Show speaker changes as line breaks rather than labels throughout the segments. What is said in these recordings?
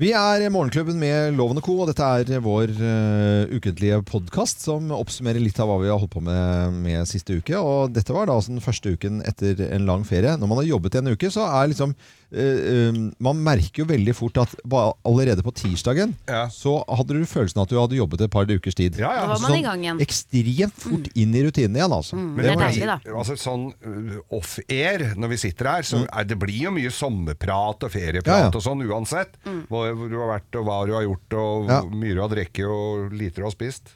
Vi er Morgenklubben med Loven og Co, og dette er vår eh, ukentlige podkast som oppsummerer litt av hva vi har holdt på med, med siste uke. Og dette var da altså den første uken etter en lang ferie. Når man har jobbet i en uke, så er liksom eh, um, Man merker jo veldig fort at ba- allerede på tirsdagen
Ja.
så hadde du følelsen av at du hadde jobbet et par ukers tid. Sånn
Ja, ja.
Da var man i gang igjen.
ekstremt fort inn i rutinen igjen, altså.
Men det er
må jeg si.
deilig, da.
Altså, sånn uh, off-air, når vi sitter her, så er, det blir jo mye sommerprat og
Mm. Ja,
ferieprat
ja.
og sånn uansett.
Mm.
Hvor, hvor du har vært, og hva du har gjort, og
Ja.
hvor mye du har drukket, og liter du har spist.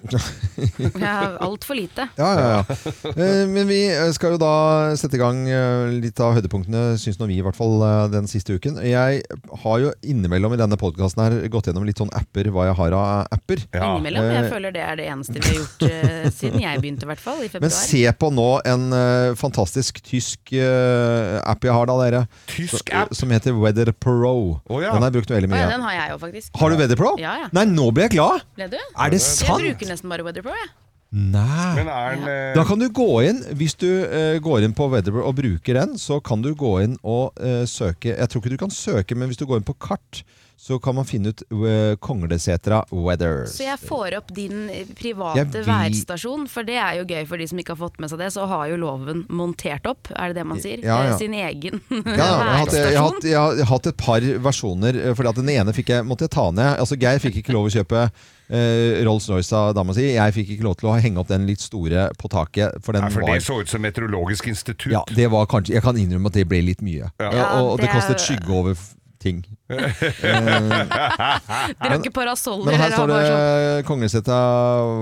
Ja, Altfor lite.
Ja, ja, ja. Eh, Men vi eh, skal jo da sette i gang eh, litt av høydepunktene, syns nå vi i hvert fall, eh, den siste uken. Jeg har jo innimellom i denne podkasten her gått gjennom litt sånn apper, hva jeg har av apper.
Ja.
Innimellom.
eh,
Jeg føler det er det eneste vi har gjort eh, siden jeg begynte, i hvert fall. I
Men
februar.
se på nå en eh, fantastisk tysk eh, app jeg har da, dere.
Tysk
Så-
app?
Som heter Weather Pro.
Å, ja.
Den har jeg brukt veldig
Å ja,
mye.
den har jeg jo, faktisk.
Har du Weather Pro?
Ja, ja.
Nei, nå ble jeg glad!
Ble du?
Er det
Jeg
sant?
bruker nesten bare Weather Pro, jeg.
Nei.
Men er den eh,
Da kan du gå inn, Hvis du eh, går inn på Weatherbird og bruker den, så kan du gå inn og eh, søke Jeg tror ikke du kan søke, men hvis du går inn på kart, så kan man finne ut eh, Konglesetra weather.
Så jeg får opp din eh,
Jeg
private
vil-
værstasjon, for det er jo gøy for de som ikke har fått med seg det. Så har jo loven montert opp, er det det man sier?
Ja, ja.
Eh, Sin egen
Ja, jeg har, hatt, jeg, har
værstasjon.
hatt, jeg, har, jeg har hatt et par versjoner, eh, Fordi at den ene fikk jeg, måtte jeg ta ned. Altså Geir fikk ikke lov å kjøpe eh, Rolls-Royce av dama si. Jeg fikk ikke lov til å henge opp den litt store på taket. For den
Nei, for det
var
så ut som Meteorologisk institutt.
ja, det var kanskje, Jeg kan innrømme at det ble litt mye. Eh, og, og det
det er-
kastet skygge over f- ting.
Dere har ikke parasoller,
Men her
dere
står
har
det
bare sånn.
Konglesetra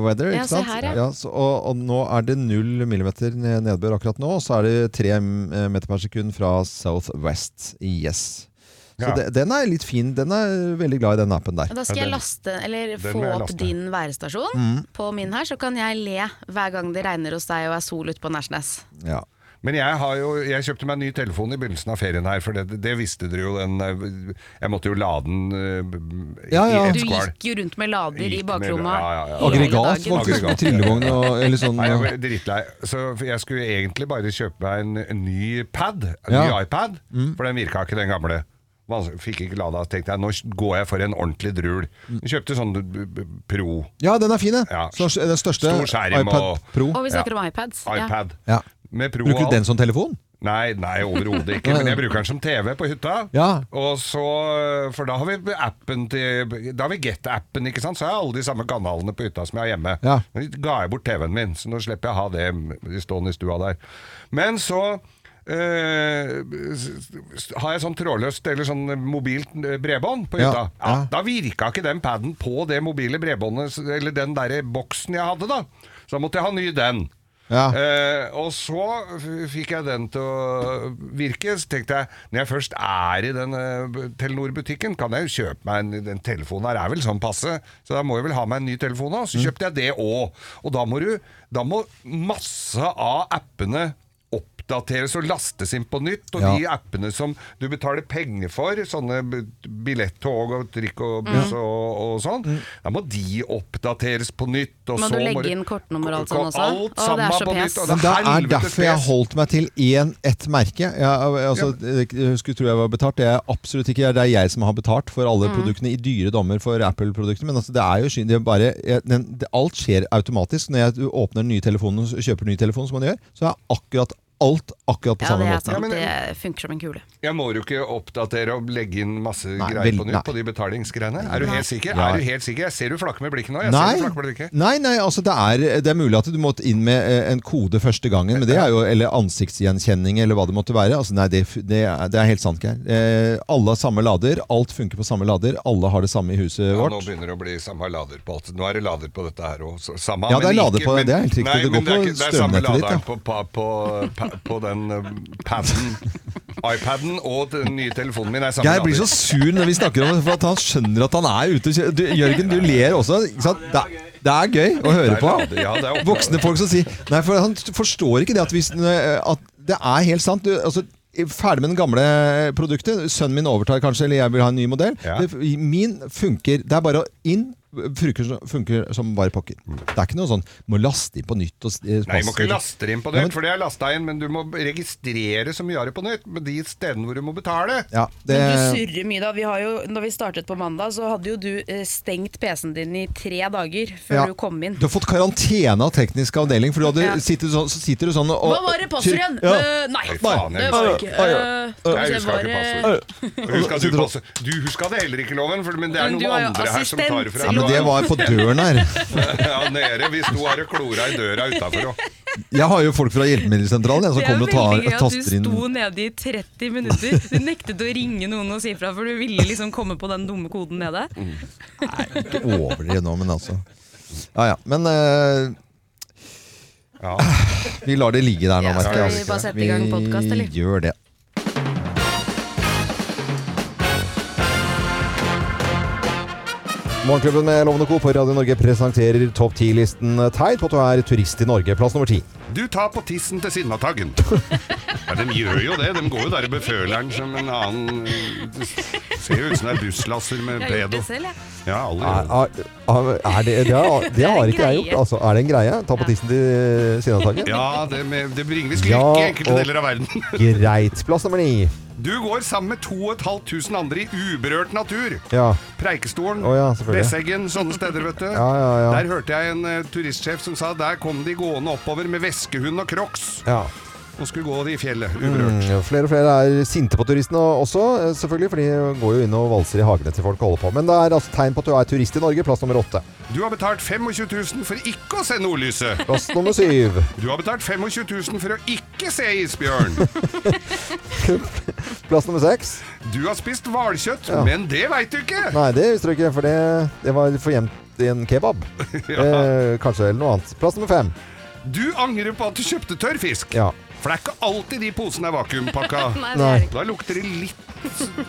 weather,
Ja,
ikke
se
sant?
her, ja.
så, og, og nå er det null millimeter ne- nedbør akkurat nå, og så er det tre mm, meter per sekund fra southwest i yes. Så
Ja.
det, den er litt fin. Den er veldig glad i den appen der.
Da skal jeg laste, eller
Den
få
må jeg
opp
laste.
din værstasjon
Mm.
på min her, så kan jeg le hver gang det regner hos deg og er sol ute på Nærsnes.
Ja.
Men jeg, har jo, jeg kjøpte meg en ny telefon i begynnelsen av ferien her, for det, det visste dere jo. Den, eh, jeg måtte jo lade den eh, i-
Ja, ja.
i
Du
ett skval.
gikk jo rundt med lader i
Gikk med-
bakromma
ja, ja, ja.
i hele
Aggregat,
dagen.
faktisk.
Aggregat.
Med Tryllevogn og eller sånn.
Nei, jeg
og-
ble drittlei. Så jeg skulle egentlig bare kjøpe meg en, en ny pad, en
Ja. Mm.
ny iPad, for den virka ikke, den gamle. Vans- Fikk ikke lada. Tenkte jeg, nå går jeg for en ordentlig drul.
Mm.
Jeg kjøpte sånn b- b- pro
Ja, den er fin, den.
Ja.
Så Den største
Stor skjerm
iPad
og-
Pro.
Og vi snakker om iPads. ja.
iPad.
Ja.
Med pro
Bruker
og
du den
alt.
som telefon?
Nei, nei overhodet ikke. Men jeg bruker den som TV på hytta.
Ja.
Og så, For da har vi appen til Da har vi Get-appen, ikke sant. Så har jeg alle de samme kanalene på hytta som jeg har hjemme.
Ja.
Men ga jeg bort TV-en min, så nå slipper jeg å ha det stående i stua der. Men så eh, s- har jeg sånn trådløst eller sånn mobilt eh, bredbånd på
Ja,
hytta. Ja,
ja.
Da virka ikke den paden på det mobile bredbåndet, s- eller den derre boksen jeg hadde, da. Så da måtte jeg ha ny den.
Ja.
Eh, og så f- fikk jeg den til å virke. Så tenkte jeg når jeg først er i den eh, b- Telenor-butikken, kan jeg jo kjøpe meg en Den telefonen her er vel sånn passe, så da må jeg vel ha meg en ny telefon òg. Så kjøpte jeg det òg. Og da må du Da må masse av appene oppdateres og lastes inn på nytt. Og
Ja.
de appene som du betaler penger for, sånne b- billett, tog og trikk og buss og, og sånn, da må de oppdateres på nytt. Og
Må
så
du legge inn kortnummer og alt sånn også? Å,
Alt
det
sammen
er så
på
pes.
nytt, og
Men det
Altså,
er
helvetes
derfor jeg
pes.
holdt meg til én, ett merke. Jeg, altså, jeg skulle tro jeg var betalt. Det er jeg absolutt ikke. Det er jeg som har betalt for alle
Mm.
produktene i dyre dommer for Apple-produktene. Men altså, det er jo sky- det er bare, jeg, den, det, alt skjer automatisk. Når jeg åpner den nye telefonen og kjøper ny telefon, som man gjør, så er akkurat alt akkurat på
Ja, det
samme
er
måte.
Ja,
sant.
men-
Det funker som en kule.
Jeg må jo ikke oppdatere og legge inn masse
Nei,
greier
vel,
på nytt
nei.
på de betalingsgreiene. Er du helt sikker?
Ja.
Er du helt sikker? Jeg ser du flakker med blikket nå. Jeg
Nei,
ser du flakker med blikket.
nei, nei altså det, er, det er mulig at du måtte inn med eh, en kode første gangen, men det er jo, eller ansiktsgjenkjenning, eller hva det måtte være. Altså, nei, det, f- det, er, det er helt sant, Geir. Eh, alle har samme lader, alt funker på samme lader, alle har det samme i huset
Ja, nå
vårt.
begynner det å bli samme lader på alt. Nå er det lader på dette her òg. Samme,
Ja, det er
men
lader
ikke-
på-
men-
det er helt riktig.
Nei,
Det
men
går
det er
på
ikke- det er samme
strømnettet ditt,
laderen
ja.
på, pa- på, pa, på den eh, paden. iPaden og den nye telefonen min er samme
Geir blir så
lader.
sur når vi snakker om det, for at han skjønner at han er ute. og kjø- Du, Jørgen, du ler også. Ikke sant? Det, er- Det er gøy å høre på.
Nei, det er- ja, det er opplevd.
Voksne folk som sier Nei, for han forstår ikke det at, hvis, den, eh, at det er helt sant. Du, altså, ferdig med den gamle produktet. Sønnen min overtar kanskje, eller jeg vil ha en ny modell.
Ja.
Det, min funker. Det er bare å inn. Funker, som- funker som bare pokker. Det er ikke noe sånn Må laste inn på nytt. Og, s- eh,
Mm. Nei, du må ikke
passe-
laste det inn på
Ja,
nytt,
men-
for det er lasta inn, men du må registrere så mye av det på nytt med de stedene hvor du må betale.
Ja,
Men du
det,
surrer mye da. Vi har jo, når vi startet på mandag, så hadde jo du eh, stengt PC-en din i tre dager før
Ja.
du kom inn.
du har fått karantene av teknisk avdeling, for du hadde,
Ja.
sitter, sånn, så sitter du sånn og
Hva var det passordet igjen?
Ja.
Eh, nei,
faen,
det
jeg
var
husker
det
ikke.
ikke.
Nei,
Eh, skal vi
jeg
se,
husker
var
ikke
det-
passordet. Huska du, passe. du huska det heller ikke, Loven, for, men det er
Men du
noen
var jo
andre her som tar det fra
Ja, men det var på døren her.
ja, nede. Vi sto her og klora i døra utafor.
Jeg har jo folk fra hjelpemiddelsentralen jeg, som
Det er
kommer
jo
og tar,
veldig gøy at du
taster inn
sto nede i 30 minutter. Du nektet å ringe noen og si fra, for du ville liksom komme på den dumme koden nede.
Mm.
Ikke overdriv nå, men altså. Ja ja. Men eh,
Ja.
vi lar det ligge der nå,
Ja,
merker jeg.
skal vi
altså.
bare sette i gang podcast, eller?
Vi gjør det. Morgenklubben med Lovende Co. på Radio Norge presenterer topp 10-listen teit på at du er turist i Norge. Plass nummer ti.
Du tar på tissen til Sinnataggen. Ja, de gjør jo det. De går jo der i beføleren som en annen Det ser jo ut som det er buslasser
Jeg
med
har gjort
pedo.
det selv, jeg.
Ja, alle gjør
Er,
det.
er, er det, det, har, det har ikke jeg gjort. Altså, er det en greie? Ta på tissen til Sinnataggen?
Ja, det, med, det bringer visst
Ja,
lykke i enkelte
og-
deler av verden.
Greit. Plass nummer ni.
Du går sammen med 2500 andre i uberørt natur.
Ja.
Preikestolen,
Å ja, selvfølgelig.
Besseggen, sånne steder, vet du.
Ja, ja, ja.
Der hørte jeg en eh, turistsjef som sa der kom de gående oppover med veskehund og crocs
ja.
og skulle gå i fjellet uberørt.
Mm, Flere og flere er sinte på turistene også, eh, selvfølgelig, for de går jo inn og valser i hagene til folk og holder på. Men det er altså tegn på at du er turist i Norge. Plass nummer åtte.
Du har betalt 25 000 for ikke å se nordlyset.
Plass nummer syv.
Du har betalt 25 000 for å ikke se isbjørn.
Plass nummer seks.
Du har spist hvalkjøtt,
Ja.
men det veit du ikke!
Nei, det visste du ikke, for det, det var for gjemt i en kebab. eh, kanskje, eller noe annet. Plass nummer fem.
Du angrer på at du kjøpte tørr fisk.
Ja.
For det er ikke alltid de posene er vakuumpakka.
Nei, det
Nei.
er det ikke.
Da lukter det litt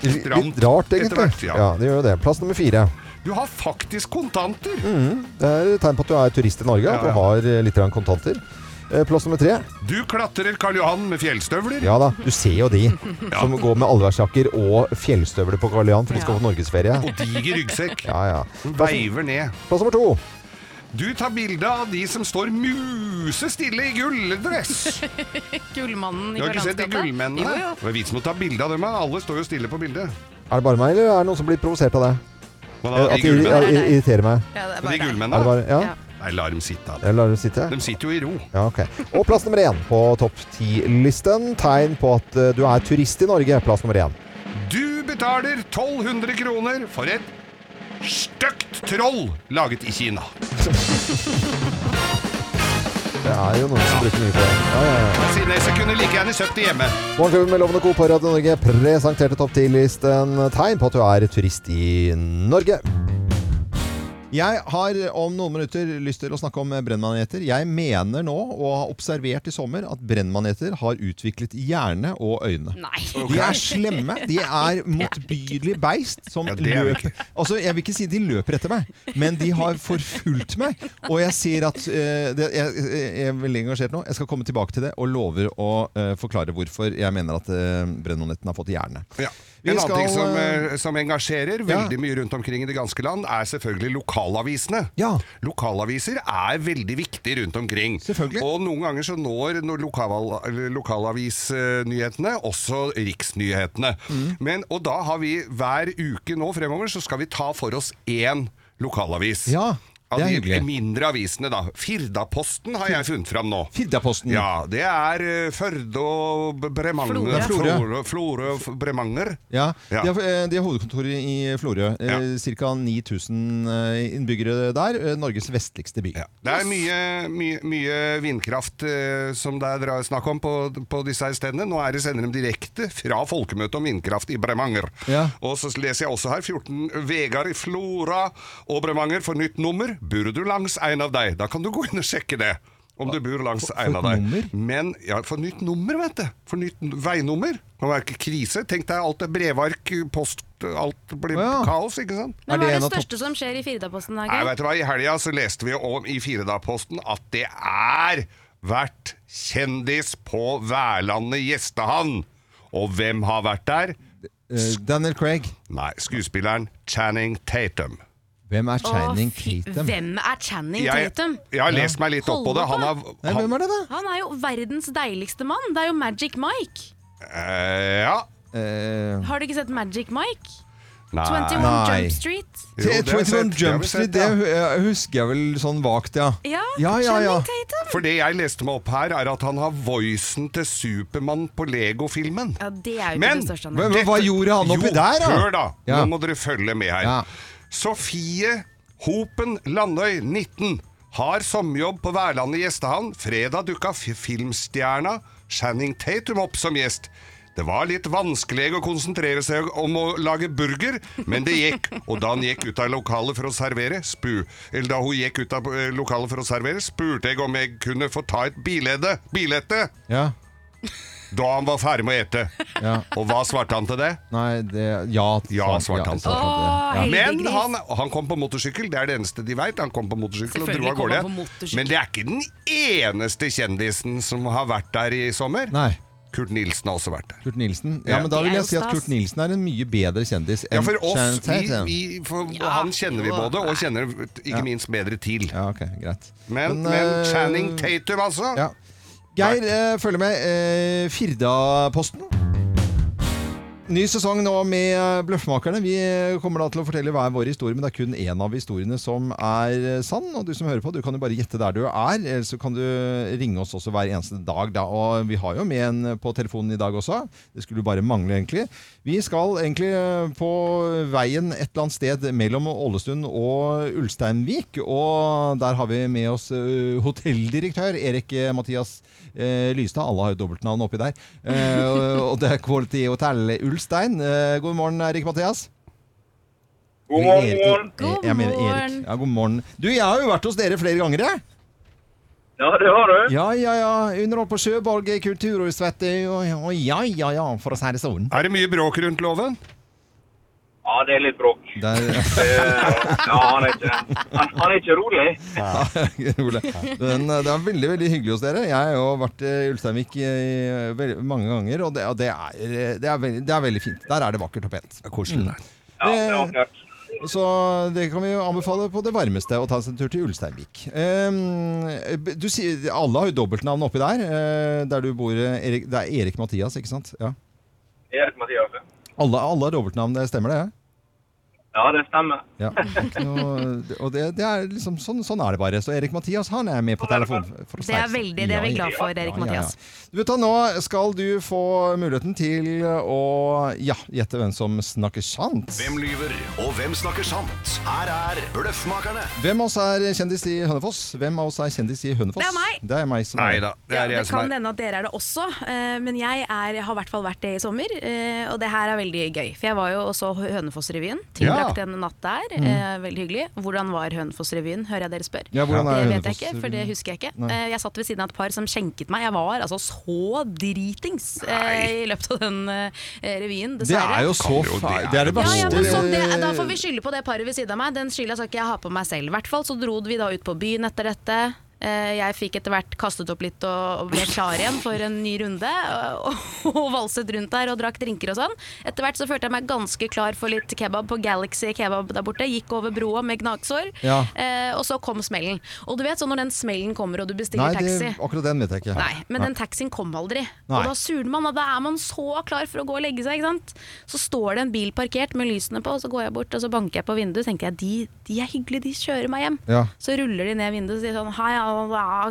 Litt
Stramt.
rart,
Etter
egentlig.
hvert, ja.
ja, det gjør jo det. Plass nummer fire.
Du har faktisk kontanter!
Mm. Det er tegn på at du er turist i Norge,
Ja,
at du
ja.
har eh, litt grann kontanter. Eh, Plass nummer tre.
Du klatrer Karl Johan med fjellstøvler.
Ja da, du ser jo de som går med allværsjakker og fjellstøvler på Karl Johan, for de skal
Ja.
på norgesferie.
Og diger ryggsekk.
Ja, ja.
Mm.
Plass,
Veiver ned.
plass nummer to.
Du tar bilde av de som står musestille i gulldress.
Gullmannen i
Du har ikke sett de
Karlanskapet.
gullmennene? Det er vi som må ta bilde av dem. da. Alle står jo stille på bildet.
Er det bare meg, eller er det noen som blir provosert av det?
Hva
Eh,
da, de
At de
gullmennene?
ir- ir- irriterer meg?
Ja, det er
De
bare deg.
Er det
gullmennene?
bare, ja?
Ja.
Nei, la dem sitte. da.
Jeg lar dem sitte.
De sitter jo i ro.
Ja, ok. Og plass nummer én på topp ti-listen. Tegn på at eh, du er turist i Norge. Plass nummer én.
Du betaler 1200 kroner for et støkt troll laget i Kina.
Det er jo noen som bruker mye på det. Ja, ja, ja.
Kineser kunne like gjerne kjøpt det hjemme.
Morgenklubben med Lovende Co. på Radio Norge presenterte topp 10-listen tegn på at du er turist i Norge. Jeg har om noen minutter lyst til å snakke om brennmaneter. Jeg mener nå, og har observert i sommer, at brennmaneter har utviklet hjerne og øyne.
Nei.
De er slemme. De er motbydelig beist som
Ja, det er vi
løper Altså, Jeg vil ikke si de løper etter meg, men de har forfulgt meg. Og jeg sier at eh, det, jeg, jeg er veldig engasjert nå. Jeg skal komme tilbake til det og lover å eh, forklare hvorfor jeg mener at uh, brennmanetten har fått hjerne.
Ja.
Vi
en
skal,
annen ting som,
eh,
eh, som engasjerer
ja.
veldig mye rundt omkring i det ganske land, er selvfølgelig lokalavisene.
Ja.
Lokalaviser er veldig viktig rundt omkring.
Selvfølgelig.
Og noen ganger så når når lokal, lokalavisnyhetene også riksnyhetene.
Mm.
Men, og da har vi hver uke nå fremover så skal vi ta for oss én lokalavis.
Ja,
Av
det er
de
hyggelig.
mindre avisene, da. Firdaposten har jeg funnet fram nå.
Firdaposten.
Ja, det er eh, Førde og B- Bremanger.
Florø.
Florø, Florø og F- Bremanger.
Ja,
Ja.
De, har, eh, de har hovedkontor i Florø. Eh,
Ja.
Ca. 9000 eh, innbyggere der. eh, Norges vestligste by.
Ja. Det er mye, mye, mye vindkraft eh, som det er dra- snakk om på, på disse her stedene. Nå er det sender dem direkte fra folkemøtet om vindkraft i Bremanger.
Ja.
Og så leser jeg også her 14 Vegard i Flora og Bremanger får nytt nummer. Bor du langs en av deg? Da kan du gå inn og sjekke det. Om du bor langs
for- for
en av
et
deg.
nummer?
Men ja, for nytt nummer, vet du. For nytt n- veinummer. Det kan være ikke krise. Tenk deg alt det brevark, post alt, alt blir
Ja.
kaos, ikke sant?
Er
Men
det
hva er
en
det
av topp-
største som skjer i Firdaposten?
Nei,
Hagen?
vet du hva, I helga så leste vi om i Firedagposten at det er vært kjendis på Værlandet gjestehavn. Og hvem har vært der?
Eh, Daniel Craig.
Nei, skuespilleren Channing Tatum.
Hvem er Channing
Å, fy-
Tatum?
Hvem er Channing
Jeg,
Tatum?
jeg har lest meg litt opp på det.
Holder
Han
på.
har,
Nei,
han,
hvem er det, da?
Han er jo verdens deiligste mann. Det er jo Magic Mike.
eh, ja.
Eh,
Har du ikke sett Magic Mike?
Nei.
21
Nei.
Jump Street.
Jo, det har
21
jeg sett. Det har vi
Jump Street,
sett,
det
ja.
eh, husker jeg vel sånn vagt, ja.
Ja,
ja, ja, ja.
Channing Tatum.
For det jeg leste meg opp her, er at han har voicen til Supermann på Lego-filmen.
Ja, det er jo ikke
Men
det største han
Men
har.
hva gjorde han oppi
jo,
der, da?
Hør, da!
Ja.
Nå må dere følge med her.
Ja.
Sofie Hopen Landøy, 19, har sommerjobb på Værlandet gjestehavn. Fredag dukka f- filmstjerna Channing Tatum opp som gjest. Det var litt vanskelig å konsentrere seg om å lage burger, men det gikk. Og da han gikk ut av lokalet for å servere, spu, eller da hun gikk ut av eh, lokalet for å servere, spurte jeg om jeg kunne få ta et bilede, bilete
Ja,
da han var ferdig med å ete.
ja.
Og hva svarte han til det?
Nei, det Ja,
Ja, svarte han.
Åh,
Ja.
Men
heldiggris.
han, han kom på motorsykkel, det er det eneste de veit. Han kom på motorsykkel og dro
Selvfølgelig
av
kom
gårde.
han på motorsykkel.
Men det er ikke den eneste kjendisen som har vært der i sommer.
Nei.
Kurt Nilsen har også vært der.
Kurt Nilsen. Ja, men da
Det
vil
er
jeg
jo
si at
stas.
Kurt Nilsen er en mye bedre kjendis
Ja,
enn
for oss,
Channing
vi,
Tatum.
vi, for Han kjenner vi
jo.
både, og kjenner ikke minst bedre til.
Ja, ok, greit.
Men, men,
eh,
Channing Tatum, altså.
Ja. Geir, eh, følg med. Eh, Firdaposten. Ny sesong nå med eh, Bløffmakerne. Vi eh, kommer da til å fortelle hver vår historie, men det er kun én av historiene som er eh, sann. Og du som hører på, du kan jo bare gjette der du er, eller så kan du eh, ringe oss også hver eneste dag. Da. Og vi har jo med en eh, på telefonen i dag også. Det skulle jo bare mangle, egentlig. Vi skal egentlig eh, på veien et eller annet sted mellom Ålesund og Ulsteinvik, og der har vi med oss eh, hotelldirektør Erik eh, Mathias eh, Lystad. Alle har jo dobbeltnavn oppi der. Eh, og- og det er Quality Hotel Ulstein. Eh, god morgen, Erik Mathias.
God morgen,
Erik-
god morgen.
Eh, jeg mener Erik. Ja, god morgen. Du, jeg har jo vært hos dere flere ganger, jeg.
Ja, det har du.
Ja, ja, ja. Underhold på Sjøborg kulturhus, vet du. Og og ja, ja, ja, for å si det sånn.
Er det mye bråk rundt loven?
Ja, det er litt bråk.
Der,
Eh, Ja, han er ikke, han, han er ikke rolig.
Ole. Men eh, det er veldig veldig hyggelig hos dere. Jeg har jo vært i Ulsteinvik eh, vel- mange ganger, og det, og det, er, eh, det, er veldig, det er veldig fint. Der er det vakkert og pent.
Koselig. der.
Ja, det er akkurat.
Så det kan vi jo anbefale på det varmeste, å ta seg en tur til Ulsteinvik. Eh, du sier, alle har jo dobbeltnavn oppi der, eh, der du bor. eh, Erik, det er Erik Mathias, ikke sant? Ja.
Erik Mathias.
Alle, alle har dobbeltnavn, det stemmer det? Ja?
Ja, det stemmer.
Ja. Og, og det, det er liksom sånn, sånn er det bare. Så Erik Mathias han er med på telefon. for å
Det er
si-
veldig- det er vi glad for, Erik Mathias.
Du vet da, Nå skal du få muligheten til å ja, gjette hvem som snakker sant.
Hvem lyver, og hvem snakker sant? Her er Bløffmakerne.
Hvem av oss er kjendis i Hønefoss? Hvem av oss er kjendis i Hønefoss?
Det er meg.
Det er meg som
Nei da. Det
Ja,
er
det
jeg
kan
som er
hende at dere er det også, eh, men jeg er, har i hvert fall vært det i sommer. eh, Og det her er veldig gøy. For jeg var jo og så Hø- Hønefoss-revyen. Tilbrakte en natt der. eh, Veldig hyggelig. Hvordan var Hønefoss-revyen, hører jeg dere spør.
Mm. Ja, hvordan er
det vet jeg
Hønefoss-
ikke, for det husker jeg ikke.
Nei.
Eh, Jeg satt ved siden av et par som skjenket meg. Jeg var altså så dritings eh, i løpet av den eh, revyen,
Det
dessverre.
er jo så
Kan jo, det
feil.
er
Det er det
Ja, ja, men
verste Eh.
sånn, det, Da får vi skylde på det paret ved siden av meg. Den skylda skal ikke jeg ha på meg selv. I hvert fall så dro vi da ut på byen etter dette. Eh, Jeg fikk etter hvert kastet opp litt og og ble klar igjen for en ny runde. eh, Og, og valset rundt der og drakk drinker og sånn. Etter hvert så følte jeg meg ganske klar for litt kebab på Galaxy kebab der borte. Gikk over broa med gnagsår.
Ja.
Eh, Og så kom smellen. Og du vet sånn når den smellen kommer og du
Nei,
bestiller
det,
taxi.
akkurat den vet jeg ikke.
Nei, men den taxien kom aldri.
Nei.
Og da surner man, og da er man så klar for å gå og legge seg. ikke sant? Så står det en bil parkert med lysene på, og så går jeg bort og så banker jeg på vinduet. tenker jeg, de, de er hyggelige, de kjører meg hjem.
Ja.
Så ruller de ned vinduet og sier sånn Hei,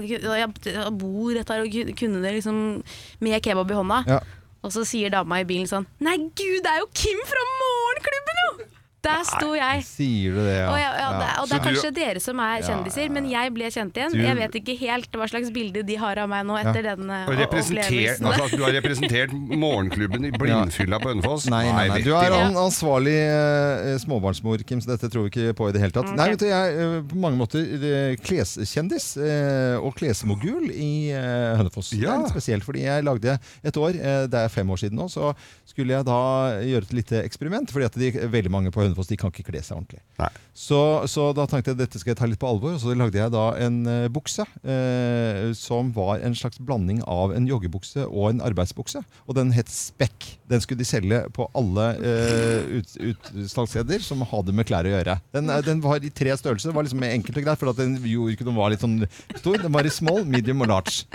jeg, jeg, jeg bor rett her, og ku- kunne det liksom Med kebab i hånda.
Ja.
Og så sier dama i bilen sånn Nei, gud, det er jo Kim fra Morgenklubben, jo! Der sto jeg.
Sier du det, ja?
Og, jeg, ja, det, og det er
Så du-
kanskje dere som er kjendiser, men jeg ble kjent igjen.
Du-
Jeg vet ikke helt hva slags bilde de har av meg nå etter den eh,
Og representer-
opplevelsen.
altså, at du har representert morgenklubben i blindfylla på Ønfoss?
Nei, nei, nei.
vet
Du er
ikke.
an ansvarlig eh, småbarnsmor, Kim, så dette tror vi ikke på i det hele tatt. Nei, vet du, jeg er eh, på mange måter eh, kleskjendis eh, og klesmogul i eh, Hønefoss. Det
Ja.
er litt spesielt, fordi jeg lagde et år, eh, det er fem år siden nå, så skulle jeg da gjøre et lite eksperiment, fordi at de, veldig mange på Hønefoss de kan ikke kle seg ordentlig.
Nei.
Så, så da tenkte jeg dette skal jeg ta litt på alvor, og så lagde jeg da en eh, bukse eh, som var en slags blanding av en joggebukse og en arbeidsbukse. Og den het Spekk. Den skulle de selge på alle eh, ut- utsalgssteder som hadde med klær å gjøre. Den, eh, den var i tre størrelser, det var liksom enkelt og greit, for at den gjorde ikke den var litt sånn stor. Den var i small, medium og large.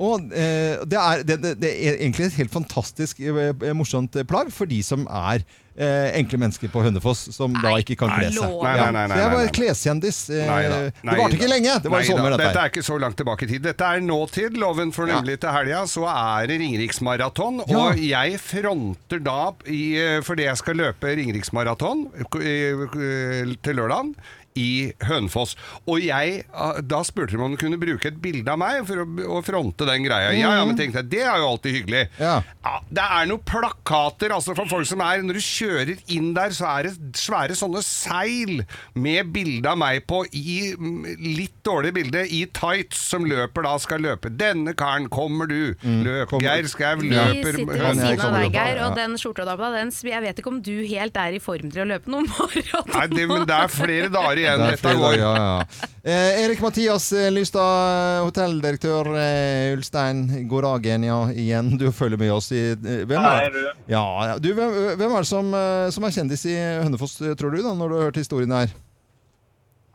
Og eh, det, er, det, det, det er egentlig et helt fantastisk eh, morsomt plagg for de som er eh, enkle mennesker på Hønefoss, som da ikke kan kle seg.
Nei, nei, nei, nei,
Ja, så jeg
nei,
var
nei.
kleskjendis. eh,
Nei da. Nei
det varte
da.
ikke lenge! Det var
Nei
i sommer,
da.
dette
Dette
her.
er ikke så langt tilbake i tid. Dette er nåtid, loven for nemlig til helga. Så er det Ringeriksmaraton. Og jeg fronter da, i, eh, fordi jeg skal løpe Ringeriksmaraton k- i- til lørdagen, i Hønefoss. Og jeg, eh, da spurte de om de kunne bruke et bilde av meg for å, å fronte den greia. Ja, ja, men tenkte jeg, det er jo alltid hyggelig.
Mm. Ja.
Ja, det er noen plakater altså for folk som er Når du kjører inn der, så er det svære sånne seil med bilde av meg på i mm, litt dårlig bilde, i tights, som løper da skal løpe. Denne karen kommer du. Løp,
Mm, kommer.
Geir Skau
Vi
Ja,
løper.
sitter ved
men jeg
siden av
kommer
deg,
på det,
Geir,
ja.
og den skjorta du har på deg, den- jeg vet ikke om du helt er i form til å løpe noen
Nei,
maraton.
det, men det er flere dager igjen.
Det er
Dette
fredag,
går.
ja, ja. Eh, Erik Mathias eh, Lystad, hotelldirektør eh, Ulstein. God dagen, ja, igjen. Du følger med oss i eh, Hvem
Hei,
er,
du.
ja, ja. du, hvem, hvem er det som, eh, som er kjendis i Hønefoss, eh, tror du, da, når du har hørt historien her?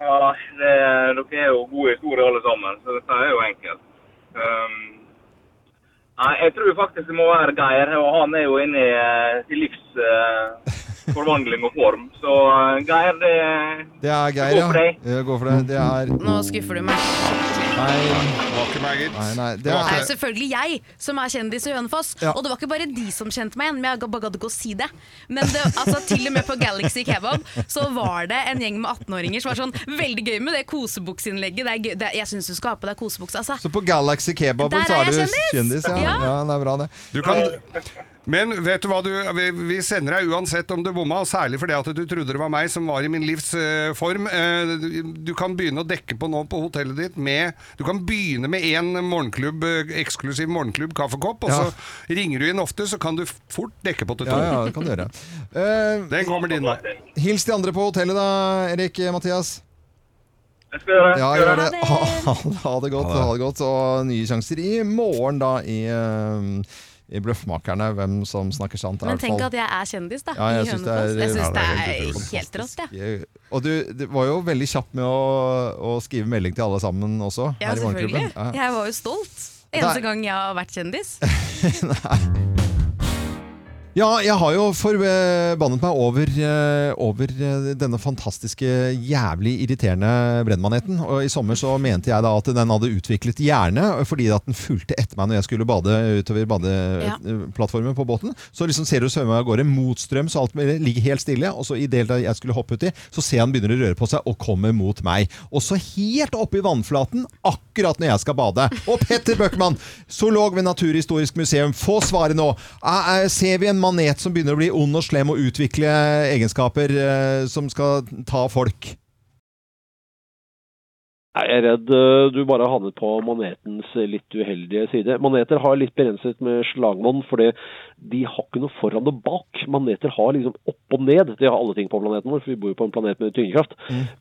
Ja, det, dere er jo gode historier alle sammen, så dette er jo enkelt. Ehm, nei, jeg tror faktisk det må være Geir, og han er jo inne i eh, sin livs eh, forvandling og form. Så eh, Geir, det
Det er Geir,
Gå
ja.
for deg.
Eh, Gå for deg. Det er
Nå skuffer du meg.
Nei.
Det var ikke meg, gitt.
Nei, nei, det var
Det var
Det er
ikke-
jo selvfølgelig jeg som er kjendis i Hønefoss.
Ja.
Og det var ikke bare de som kjente meg igjen, men jeg bare gadd ikke å si det. Men det, altså, til og med på Galaxy Kebab så var det en gjeng med 18-åringer som var sånn veldig gøy med det kosebukseinnlegget. Det er gøy- det er- Jeg syns du skal ha på deg kosebukse, altså.
Så på Galaxy Kebaben
Der er
så er du
jeg
kjendis?
kjendis!
ja.
Ja.
ja, det er bra, det.
Du kan... Men vet du hva, du, vi, vi sender deg uansett om du bomma, og særlig fordi at du trodde det var meg som var i min livs eh, form. Eh, du- du kan begynne å dekke på nå på hotellet ditt med Du kan begynne med én morgenklubb, eh, eksklusiv morgenklubb kaffekopp, og
Ja.
så ringer du inn ofte, så kan du f- fort dekke på til to.
Ja, ja, det kan du gjøre. Eh,
Den kommer din vei.
hils de andre på hotellet da, Erik eh, Mathias.
Jeg skal gjøre
Ja,
skal
gjør
gjøre.
det. Ha, ha det godt, ha det godt. Og nye sjanser i morgen da i, eh, i Bløffmakerne, hvem som snakker sant. er i
Men
hvert
tenk
fall-
at jeg er kjendis, da.
Ja, jeg
I
synes det er-
Hønefoss. Jeg
Ja, det
syns det
er helt
er
utrolig.
helt rått, jeg.
Og du det var jo veldig kjapp med å, å skrive melding til alle sammen også.
Ja,
her i
selvfølgelig.
Morgenklubben. Ja.
Jeg var jo stolt.
Der.
Eneste gang jeg har vært kjendis.
Ja, jeg har jo forbannet meg over, eh, over eh, denne fantastiske, jævlig irriterende brennmaneten. Og I sommer så mente jeg da at den hadde utviklet hjerne, fordi at den fulgte etter meg når jeg skulle bade utover
Ja.
badeplattformen på båten. Så liksom ser du svømme av gårde mot strøm, så alt ligger helt stille. Og så i det hele tatt jeg skulle hoppe uti, så ser jeg den begynner å røre på seg og kommer mot meg. Og så helt oppe i vannflaten, akkurat når jeg skal bade. Og Petter Bøckmann, zoolog ved Naturhistorisk museum, få svaret nå. Eh, eh, Ser vi en manet som begynner å bli ond og slem og utvikle egenskaper eh, som skal ta folk?
Nei, Jeg er redd eh, du bare havnet på manetens litt uheldige side. Maneter har litt begrenset med slagmonn, for de har ikke noe foran og bak. Maneter har liksom opp og ned. De har alle ting på planeten vår, for vi bor jo på en planet med tyngdekraft.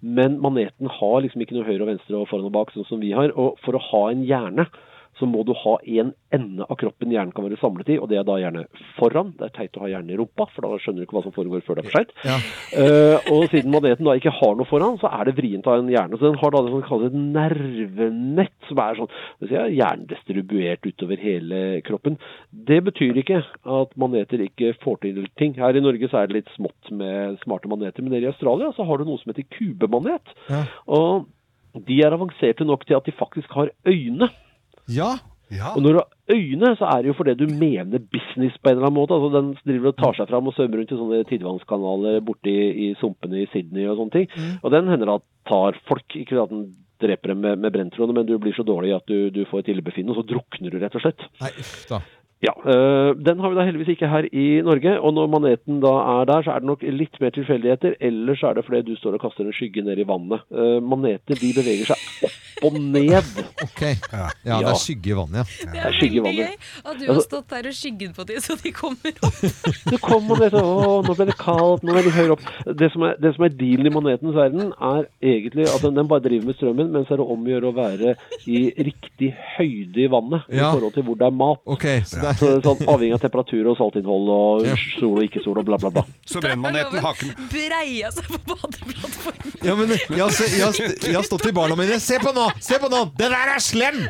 Men maneten har liksom ikke noe høyre og venstre og foran og bak, sånn som vi har. Og for å ha en hjerne, så må du ha en ende av kroppen hjernen kan være samlet i, og det er da gjerne foran. Det er teit å ha hjernen i rumpa, for da skjønner du ikke hva som foregår før det er for seint.
Ja.
Eh, og siden maneten da ikke har noe foran, så er det vrient av en hjerne. Så den har da det som kalles et nervenett, som er sånn det vil si, ja, jerndistribuert utover hele kroppen. Det betyr ikke at maneter ikke får til ting. Her i Norge så er det litt smått med smarte maneter, men nede i Australia så har du noe som heter kubemanet.
Ja.
Og de er avanserte nok til at de faktisk har øyne.
Ja,
Ja.
Og når du har øyne, så er det jo fordi du mener business på en eller annen måte. Altså Den driver og tar seg fram og svømmer rundt i sånne tidevannskanaler borti i sumpene i Sydney og sånne ting. Og den hender at tar folk. Ikke at den dreper dem med, med brenntrådene, men du blir så dårlig at du, du får et illebefinnende, og så drukner du rett og slett.
Nei, uff da.
Ja, øh, Den har vi da heldigvis ikke her i Norge. Og når maneten da er der, så er det nok litt mer tilfeldigheter. Ellers er det fordi du står og kaster en skygge ned i vannet. Eh, maneter de beveger seg opp og ned.
Ok. Ja, det er skygge i vannet, ja.
Det
er
er
skygge i
veldig gøy
vannet.
at du har stått der og skygget på dem, så de kommer opp.
Så kom maneten, å, nå ble det kaldt, nå er de høyere opp. Det som er, det som er dealen i manetens verden, er egentlig at den, den bare driver med strømmen, men så er det om å gjøre å være i riktig høyde i vannet
Ja.
i forhold til hvor det er mat.
Ok, så det
Så
er
det er sånn Avhengig av temperatur og saltinnhold og
Ja.
sol og ikke sol og bla, bla, bla.
Så brennmaneten haken
Breia seg på badeplattformen.
ja, men, jeg, har, se- jeg, har, jeg har stått i barna mine. Se på nå! Se på nå! Det der er slem!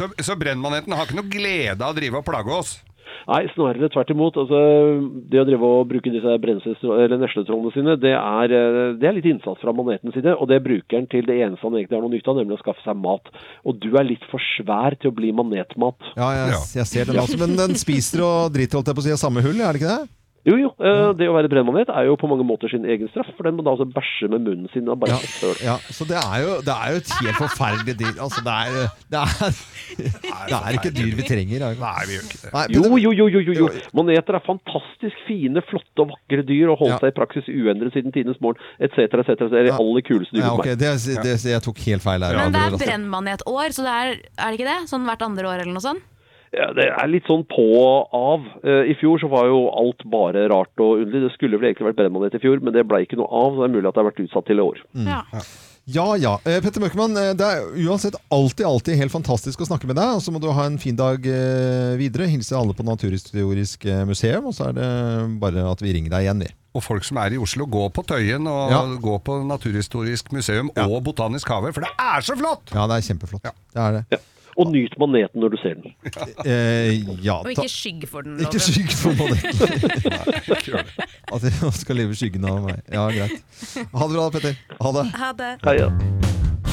Så, så brennmaneten har ikke noe glede av å drive og plage oss.
Nei, snarere tvert imot. Altså, det å drive og bruke disse bremsestrå- eller nesletrollene sine, det er, eh, det er litt innsats fra manetens side. Og det bruker han til det eneste han egentlig har noe nytte av, nemlig å skaffe seg mat. Og du er litt for svær til å bli manetmat.
Ja, jeg,
Ja.
jeg ser den også. Men den spiser og driter, holdt jeg på å si, av samme hull, er det ikke det?
Jo, jo. eh, Det å være brennmanet er jo på mange måter sin egen straff, for den må da altså bæsje med munnen sin. Og
Ja,
bare søl.
ja så det er jo, det er jo et helt forferdelig dyr. Altså, det er, det er, det er ikke et dyr vi trenger. er det?
Nei, vi gjør ikke det.
Nei, men
Jo,
det-
jo, jo, jo, jo, jo.
Jo, jo.
Maneter er fantastisk fine, flotte og vakre dyr og holdt
Ja.
seg i praksis uendret siden tidenes morgen, etc., etc. Det er de
Ja.
aller kuleste dyrene
Ja,
for meg.
ok, det, det, jeg tok helt feil her. altså.
Men det er
Abu Raste.
brennmanetår, så det er, er det ikke det? Sånn hvert andre år eller noe sånt?
Ja, det er litt sånn på og av. Eh, I fjor så var jo alt bare rart og underlig. Det skulle vel egentlig vært brennmanet i fjor, men det ble ikke noe av. Så det er mulig at det har vært utsatt til i år.
Mm.
Ja.
Ja, ja. Eh, Petter Møkkemann, eh, det er uansett alltid alltid helt fantastisk å snakke med deg. Og så må du ha en fin dag eh, videre. Hilse alle på Naturhistorisk eh, museum. Og så er det bare at vi ringer deg igjen, vi.
Og folk som er i Oslo, gå på Tøyen og
Ja.
gå på Naturhistorisk museum og Botanisk hage, for det er så flott!
Ja, det er kjempeflott. Det er det.
Og nyt maneten når du ser den.
Eh, ja,
Og
ta,
ikke skygg for den.
ikke
Loven.
skygg for maneten.
Kjør det.
At jeg skal leve i skyggen av meg. Ja, greit. Ha det bra, Petter. Ha det.
Ha det.
Hei, ja.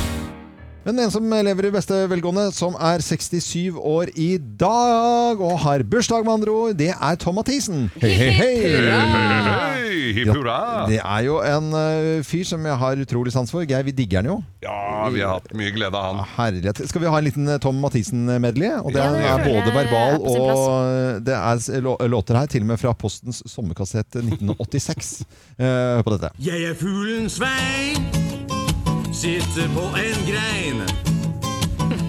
Men en som lever i beste velgående, som er 67 år i dag og har bursdag, med andre ord, det er Tom Mathisen. Hei, hei, hei!
Hei, hipp hurra!
Det er jo en ø, fyr som jeg har utrolig sans for. Geir, vi digger han jo.
Ja, vi har hatt mye glede av han.
Herlighet. Skal vi ha en liten ø, Tom Mathisen-medley? Og det
Ja, det
er
føler jeg
både
er
verbal
på sin
og ø, det er s- lå- låter her, til og med fra Postens sommerkassett 1986. Eh, Hør på dette.
Jeg er fuglen Svein, sitter på en grein.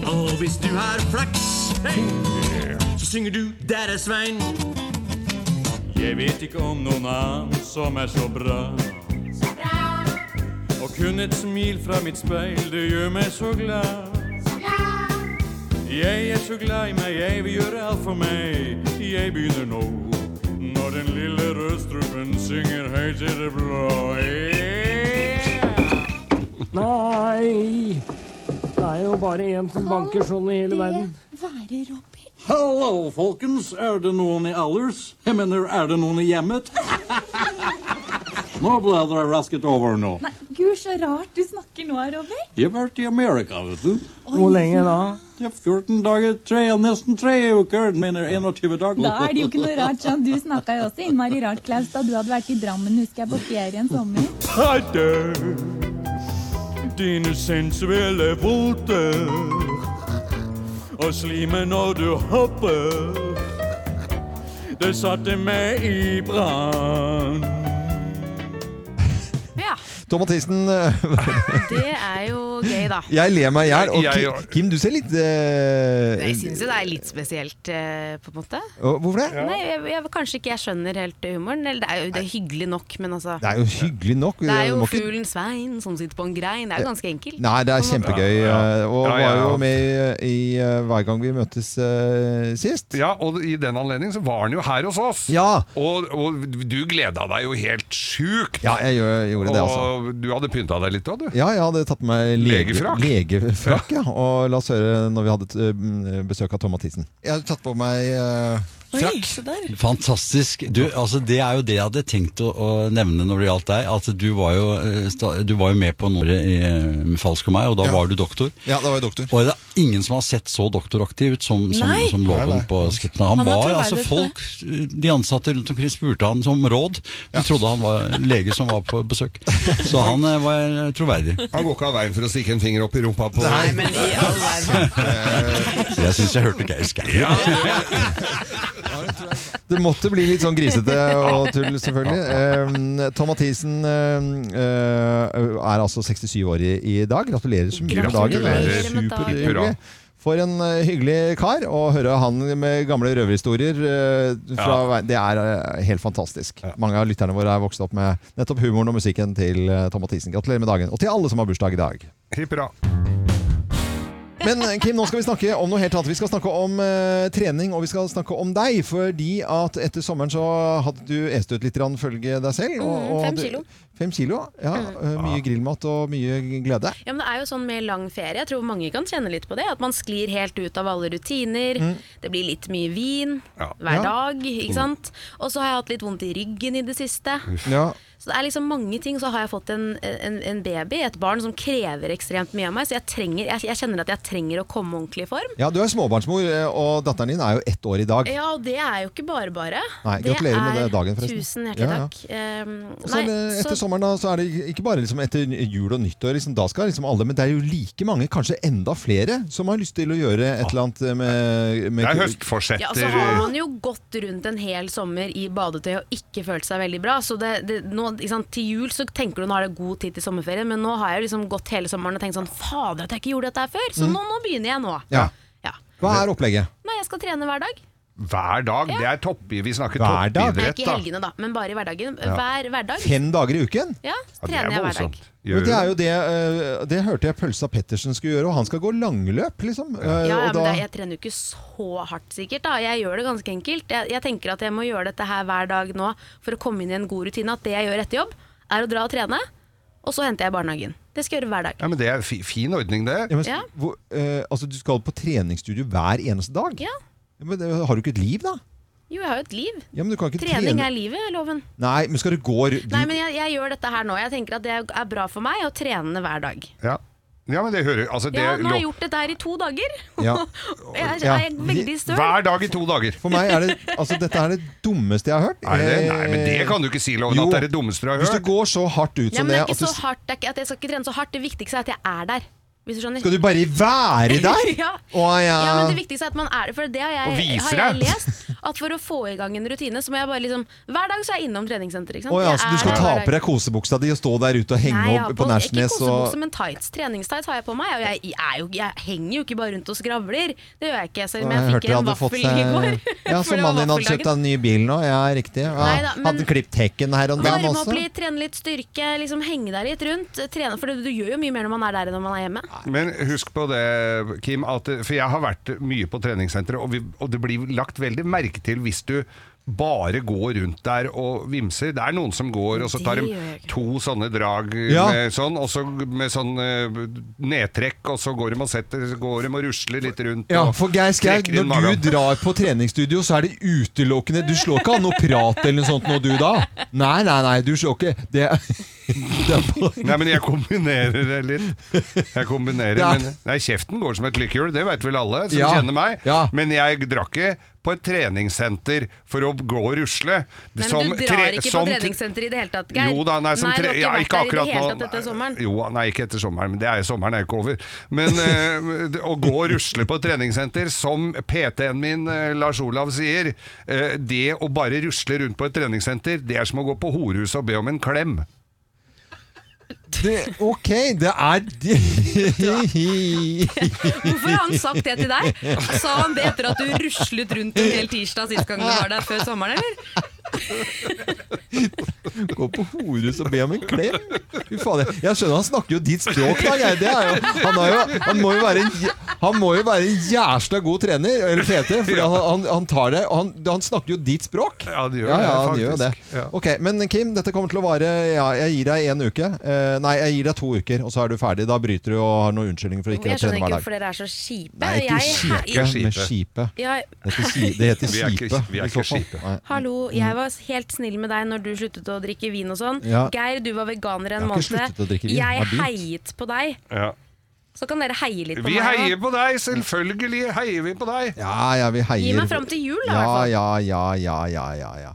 Og hvis du har flaks, hei, så synger du 'Der er Svein'. Jeg vet ikke om noen annen som er så bra. Og kun et smil fra mitt speil, det gjør meg så glad. Jeg er så glad i meg, jeg vil gjøre alt for meg. Jeg begynner nå. Når den lille rødstrupen synger høyt i det blå. Yeah!
Nei, det er jo bare én som banker sånn i hele verden.
Hallo, folkens. Er det noen i alders? Jeg mener, er det noen i hjemmet? nå ble det rasket over nå. Nei, Gud, så rart du snakker nå, Robert. Jeg har vært i Amerika, vet du.
Hvor lenge da?
Det er 14 dager, tre, nesten tre uker, mener 21 dager.
Da er det jo ikke noe rart, Jan. Du snakka jo også innmari rart, Klaus, da du hadde vært i Drammen, husker jeg, på ferie en sommer.
Hadde dine sensuelle voter og slimet når du hopper. Det satte meg i brann.
ja.
Tom Mathisen, ø,
Det er jo gøy, da.
jeg ler meg i hjel. Og
Jeg-
Ki-
jeg-
Kim, du ser litt ø,
Jeg syns jo det er litt spesielt, eh, på en måte.
Å, Hvorfor det?
Nei, jeg, jeg, kanskje ikke jeg skjønner helt humoren. Eller det er jo det er hyggelig nok, men altså
Det er jo hyggelig nok.
Det er
Du eh, må
jo
ikke-
fuglen Svein som sitter på en grein. Det er jo ganske enkelt.
Nei, det er
På en måte.
kjempegøy. eh, Og
Ja, ja,
var
ja.
jo med i, i eh, Hver gang vi møtes eh, sist.
Ja, og i den anledning så var han jo her hos oss.
Ja.
Og, og du gleda deg jo helt sjukt.
Ja, jeg gjør, gjorde det, altså.
Og du hadde pynta deg litt òg, du.
Ja, jeg hadde tatt på meg lege,
Legefrakk.
legefrakk. Ja. Og la oss høre når vi hadde eh, m, besøk av Tom Mathisen. Jeg hadde tatt på meg eh, frakk.
Fantastisk. Du, altså, det er jo det jeg hadde tenkt å, å nevne når det gjaldt deg. At du var jo, eh, sta- du var jo med på Norge i eh, Falsk og meg, og da
Ja.
var du doktor.
Ja, da var jeg doktor.
Og det ingen som har sett så doktoraktig ut som, som,
Nei.
som
Nei, nei.
Loven på Skutna. Han,
Han er
var
troverdig
altså
på
folk De ansatte rundt omkring spurte han som råd. De trodde han var lege som var på besøk. Så han eh, var troverdig.
Han går ikke av veien for å stikke en finger opp i rumpa på Nei, men i all verden.
Jeg syns jeg hørte Geir Skau.
Det måtte bli litt sånn grisete og tull, selvfølgelig. Eh, Tom Mathisen eh, eh, er altså 67 år i, i dag. Gratulerer så mye med dagen. Det er
Gratulerer med dagen.
Superhyggelig. For en eh, hyggelig kar. Å høre han med gamle røverhistorier, eh, fra,
Ja.
vei- det er eh, helt fantastisk. Mange av lytterne våre er vokst opp med nettopp humoren og musikken til eh, Tom Mathisen. Gratulerer med dagen. Og til alle som har bursdag i dag.
Hipp hurra.
Men eh, Kim, nå skal vi snakke om noe helt annet. Vi skal snakke om eh, trening, og vi skal snakke om deg. Fordi at etter sommeren så hadde du est ut litt, grann, følge deg selv.
Mm, fem kilo. Mm.
Du, fem kilo, ja. eh, Mye grillmat og mye glede.
Ja, men det er jo sånn med lang ferie, jeg tror mange kan kjenne litt på det. At man sklir helt ut av alle rutiner.
Mm.
Det blir litt mye vin hver
Ja. Mm.
dag, ikke sant. Og så har jeg hatt litt vondt i ryggen i det siste.
Ja.
Så det er liksom mange ting. Så har jeg fått en, en, en baby, et barn som krever ekstremt mye av meg. Så jeg, trenger, jeg, jeg kjenner at jeg trenger å komme ordentlig i form.
ja, du er småbarnsmor, eh, og datteren din er jo ett år i dag.
Ja, og det er jo ikke bare bare.
Nei, gratulerer med
er-
det dagen, forresten.
Tusen
Ja,
hjertelig
ja.
takk. Ehm,
Og så er
nei,
det, etter
så-
sommeren da, så er det ikke bare liksom etter jul og nyttår, liksom, da skal liksom alle, men det er jo like mange, kanskje enda flere, som har lyst til å gjøre et eller annet med, med
Det er høstforsetter.
Ja, så har man jo gått rundt en hel sommer i badetøy og ikke følt seg veldig bra. Så det, det, nå, ikke sant, til jul så tenker du nå har det god tid til sommerferien, men nå har jeg jo liksom gått hele sommeren og tenkt sånn fader at jeg ikke gjorde dette her før, så
Mm.
nå, nå begynner jeg nå.
Ja.
Ja.
Hva er opplegget?
Nei, jeg skal trene hver dag.
Hver dag. Det er topp, vi snakker
Hver dag?
Nei,
toppidrett,
ikke i helgene da, men bare i hverdagen.
Ja.
Hver hverdag.
Fem dager i uken?
Ja, så trener jeg hver dag.
Men det er jo det, eh, det hørte jeg Pølsa Pettersen skulle gjøre, og han skal gå langløp, liksom. Eh,
Ja, ja
og
men
da-
det, jeg trener jo ikke så hardt sikkert da. Jeg gjør det ganske enkelt. Jeg, jeg tenker at jeg må gjøre dette her hver dag nå for å komme inn i en god rutine. At det jeg gjør etter jobb, er å dra og trene, og så henter jeg barnehagen. Det skal jeg gjøre hver dag.
Ja, men det er fi- fin ordning, det.
Ja, men,
Ja.
hvor, eh, altså, du skal på treningsstudio hver eneste dag?
Ja.
Ja, Men det- har du ikke et liv, da?
Jo, jeg har jo et liv.
Ja, men du kan ikke
Trening
trene.
er livet, loven.
Nei, men skal du gå ru- du,
Nei, men jeg, jeg gjør dette her nå. Jeg tenker at det er bra for meg å trene hver dag.
Ja. ja, men det hører altså, det,
Ja, nå har jeg
lå-
gjort dette her i to dager.
Ja.
Jeg er,
Ja.
er jeg veldig støl.
Hver dag i to dager.
For meg er det Altså, dette er det dummeste jeg har hørt. Eh,
Nei, det, nei, men det kan du ikke si, Loven,
Jo.
at det er det dummeste Eh, du har
Hvis du
hørt.
går så hardt ut
Ja,
som altså
men det er
at
ikke
du,
så hardt. Det er ikke, at jeg skal ikke trene så hardt. Det viktigste er at jeg er der. Hvis du skjønner.
Skal du bare være der?
ja.
Å, ja.
ja, men det viktigste er at man er det. For det har
Og
jeg,
viser
har jeg
det.
lest. At for å få i gang en rutine, så må jeg bare liksom Hver dag så er jeg innom treningssenteret, ikke sant.
Å ja,
Jeg
så
er
du skal
der
ta
hver
på
dag.
deg kosebuksa di og stå der ute og henge
Nei, jeg har
opp på Nærsnes
Ikke kosebukse,
og
men tights. Treningstights har jeg på meg. Og jeg, er jo, jeg henger jo ikke bare rundt og skravler. Det gjør jeg ikke. Selv om
Nei,
jeg,
hørte
fikk en
hadde
vaffel
fått,
i går.
eh, Ja,
for
så mannen din hadde
det var vaffeldagen.
kjøpt deg en ny bil nå. Ja, riktig. Ja.
Neida, men-
hadde klippet hekken her om dagen
Varme
også.
opp litt, trene litt styrke, liksom henge deg litt rundt. Trene, for du, du gjør jo mye mer når man er der enn når man er hjemme.
Men husk på det, Kim, at, for jeg har vært mye på treningssenteret, og, vi, og det blir lagt veldig merke til hvis du bare går rundt der og vimser. Det er noen som går, og så tar
Det
de
gjør jeg
to sånne drag
Ja.
med sånn, og så med sånn eh, nedtrekk, og så går de og setter, går de og rusler litt rundt.
Ja,
og
for Geir Skau,
trekker inn
når
magen.
du drar på treningsstudio, så er det utelukkende Du slår ikke av noe prat eller noe sånt nå, du da? Nei, nei, nei, du slår ikke Det, det er bare
Nei, men jeg kombinerer det litt. Jeg kombinerer,
Ja.
men Nei, kjeften går som et lykkehjul, det vet vel alle som
Ja.
kjenner meg. Men jeg drar ikke på et treningssenter for å gå og rusle.
Men
Som
du drar
tre-
ikke
som
på
tre-
treningssenter i det hele tatt, Geir.
Jo da, nei, som
du har
tre-
ikke
ja,
vært
ikke
der i
akkurat
det hele tatt
nå.
dette sommeren.
Jo, nei, ikke etter sommeren, men det er jo sommeren er jo ikke over. Men eh, det- å gå og rusle på et treningssenter, som PT-en min eh, Lars Olav sier, eh, det å bare rusle rundt på et treningssenter, det er som å gå på horhuset og be om en klem.
det, Ok, det er
Hvorfor
Hvorfor
har han sagt det til deg? Sa han det etter at du ruslet rundt en hel tirsdag sist gang du var der før sommeren, eller?
Gå på Horus og be om en klem? Fy fader. Jeg skjønner han snakker jo ditt språk, da. Geir. Det er jo, han, er jo, han, må jo være en, jæ- han må jo være en jæsla god trener, eller PT, for han, han, han tar det og han, han snakker jo ditt språk.
Ja, det gjør
Ja,
det,
ja, han gjør jo det.
faktisk. Ja.
Ok, Men Kim, dette kommer til å vare ja, Jeg gir deg en uke. Eh, nei, jeg gir deg to uker, og så er du ferdig. Da bryter du og har noen unnskyldning for å ikke trene
Jeg skjønner ikke
hver dag.
hvorfor dere er så kjipe.
Nei, ikke kjipe,
jeg-
men skipe.
Jeg-
Det heter skipe. Det heter
Vi er ikke-
skipe.
vi er
i så
ikke
fall.
skipe.
Nei.
Hallo, jeg var helt snill med deg når du sluttet å drikke vin og sånn.
Ja.
Geir, du var veganer
Jeg har
en
ikke
måned.
sluttet å drikke vin, jeg
Jeg
har begynt.
heiet på deg.
Ja.
Så kan dere heie litt på
Vi
meg. også.
heier på deg, selvfølgelig heier vi på deg.
Ja, ja, vi heier.
Gi meg fram til jul, da, i
ja,
hvert fall.
Ja, ja, ja, ja, ja, ja.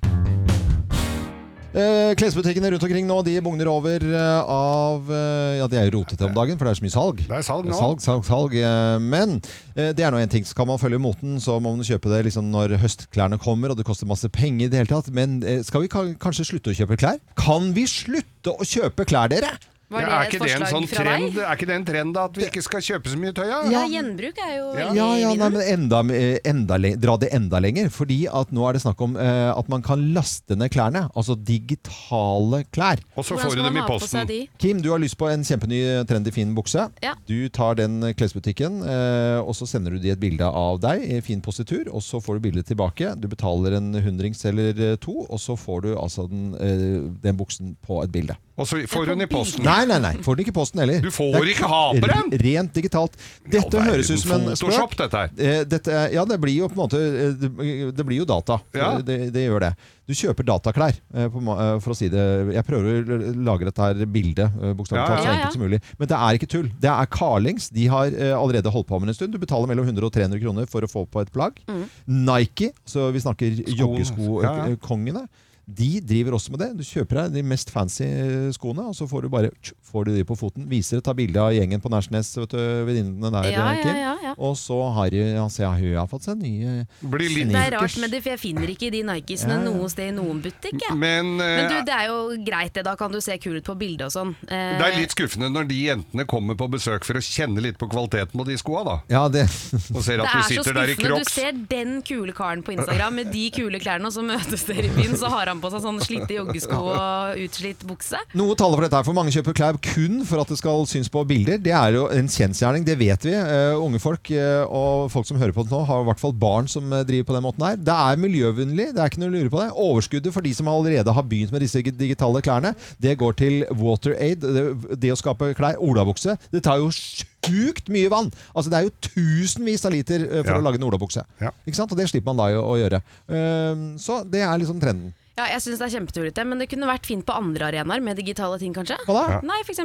Eh, Klesbutikkene rundt omkring nå de bugner over eh, av eh, Ja, de er jo rotete om dagen, for det er så mye salg. Det er salg
nå.
Salg, salg, eh, Men eh, det er nå en ting. Så kan man følge moten, så må man kjøpe det liksom når høstklærne kommer, og det koster masse penger i det hele tatt. Men eh, skal vi ka- kanskje slutte å kjøpe klær? Kan vi slutte å kjøpe klær, dere?
Var
Ja,
det
er
et
ikke det en
forslag
sånn
fra
trend?
deg?
Er ikke det en trend da, at vi ikke skal kjøpe så mye tøy? Ja,
Ja, gjenbruk er jo
Ja,
veldig
ja, nei,
vinnende.
men enda, eh, enda, le- dra det enda lenger. Fordi at nå er det snakk om eh, at man kan laste ned klærne. Altså digitale klær.
Og så Hvordan får du skal dem man i ha på posten. seg de?
Kim, du har lyst på en kjempeny, trendy, fin bukse.
Ja.
Du tar den klesbutikken, eh, og så sender du de et bilde av deg i fin positur. Og så får du bildet tilbake. Du betaler en hundrings eller eh, to, og så får du altså den, eh, den buksen på et bilde.
Og så får hun i posten.
Nei, nei, nei. Får den ikke i posten heller. Du
Mm. får ikke ha på den!
Rent digitalt. Dette høres ut som en
Photoshop,
spøk.
dette her.
Eh, Dette, er- ja, det blir jo på en måte eh, Det, det blir jo data. Eh,
Ja.
Det, det gjør det. Du kjøper dataklær, eh, på ma- eh, for å si det Jeg prøver å l- lage dette her bildet eh, bokstavelig
Ja,
talt så
ja.
enkelt som mulig. Men det er ikke tull. Det er Carlings. De har eh, allerede holdt på med det en stund. Du betaler mellom 100 og 300 kroner for å få på et plagg.
Mm.
Nike, så vi snakker
Ja, ja.
joggeskokongene. De driver også med det. Du kjøper deg de mest fancy eh, skoene, og så får du bare tsk, får du de på foten. Viser det, tar bilde av gjengen på Nærsnes, vet du, venninnene der.
Ja, ja,
Kim.
ja, ja.
Og så har de- han sier, hun har fått seg nye
Det er rart med det, for jeg finner ikke de Nikesene
Ja, ja.
noe sted i noen butikk. jeg.
Men, eh,
Men du, det er jo greit det, da kan du se kul ut på bildet og sånn. Eh,
Det er litt skuffende når de jentene kommer på besøk for å kjenne litt på kvaliteten på de skoa, da.
Ja, det.
Og ser
det
at du
er så
sitter der i
skuffende. Du
crocs.
ser den kule karen på Instagram med de kule klærne, og så møtes dere i byen, så har han på seg sånne slitte joggesko og utslitt bukse.
Noe taler for dette her, for mange kjøper klær kun for at det skal synes på bilder. Det er jo en kjensgjerning, det vet vi. Eh, unge folk eh, og folk som hører på det nå, har i hvert fall barn som eh, driver på den måten her. Det er miljøvennlig, det er ikke noe å lure på det. Overskuddet for de som allerede har begynt med disse digitale klærne, det går til WaterAid. Det, det å skape klær, olabukse, det tar jo sjukt mye vann! Altså det er jo tusenvis av liter eh, for å
Ja.
lage en olabukse. Ikke sant? Og det slipper man da jo å gjøre. Eh, så det er liksom trenden.
Ja, jeg syns det er kjempetullete, men det kunne vært fint på andre arenaer med digitale ting, kanskje.
Hva da? Ja.
Nei, f.eks.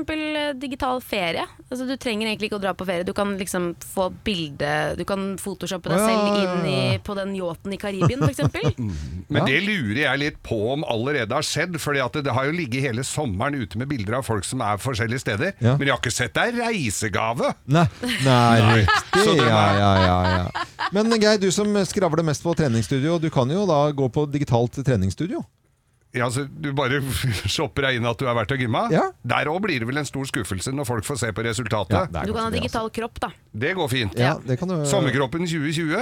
digital ferie. Altså, du trenger egentlig ikke å dra på ferie, du kan liksom få bilde Du kan photoshoppe deg
Å, ja,
selv
ja,
inn i,
ja, ja.
på den yachten i Karibien, f.eks.
Men det lurer jeg litt på om allerede har skjedd, for det det har jo ligget hele sommeren ute med bilder av folk som er forskjellige steder,
Ja.
men jeg har ikke sett deg reisegave!
Nei, nei
Nei. Så
riktig.
det-
Ja, ja, ja, ja. Men Geir, du som skravler mest på treningsstudio, du kan jo da gå på digitalt treningsstudio.
Ja, altså, du bare shopper deg inn at du har vært og gymma?
Ja.
Der òg blir det vel en stor skuffelse når folk får se på resultatet.
Ja, det er
Du kan ha digital kropp, da.
Det går fint.
Ja, det kan du...
Sommerkroppen 2020.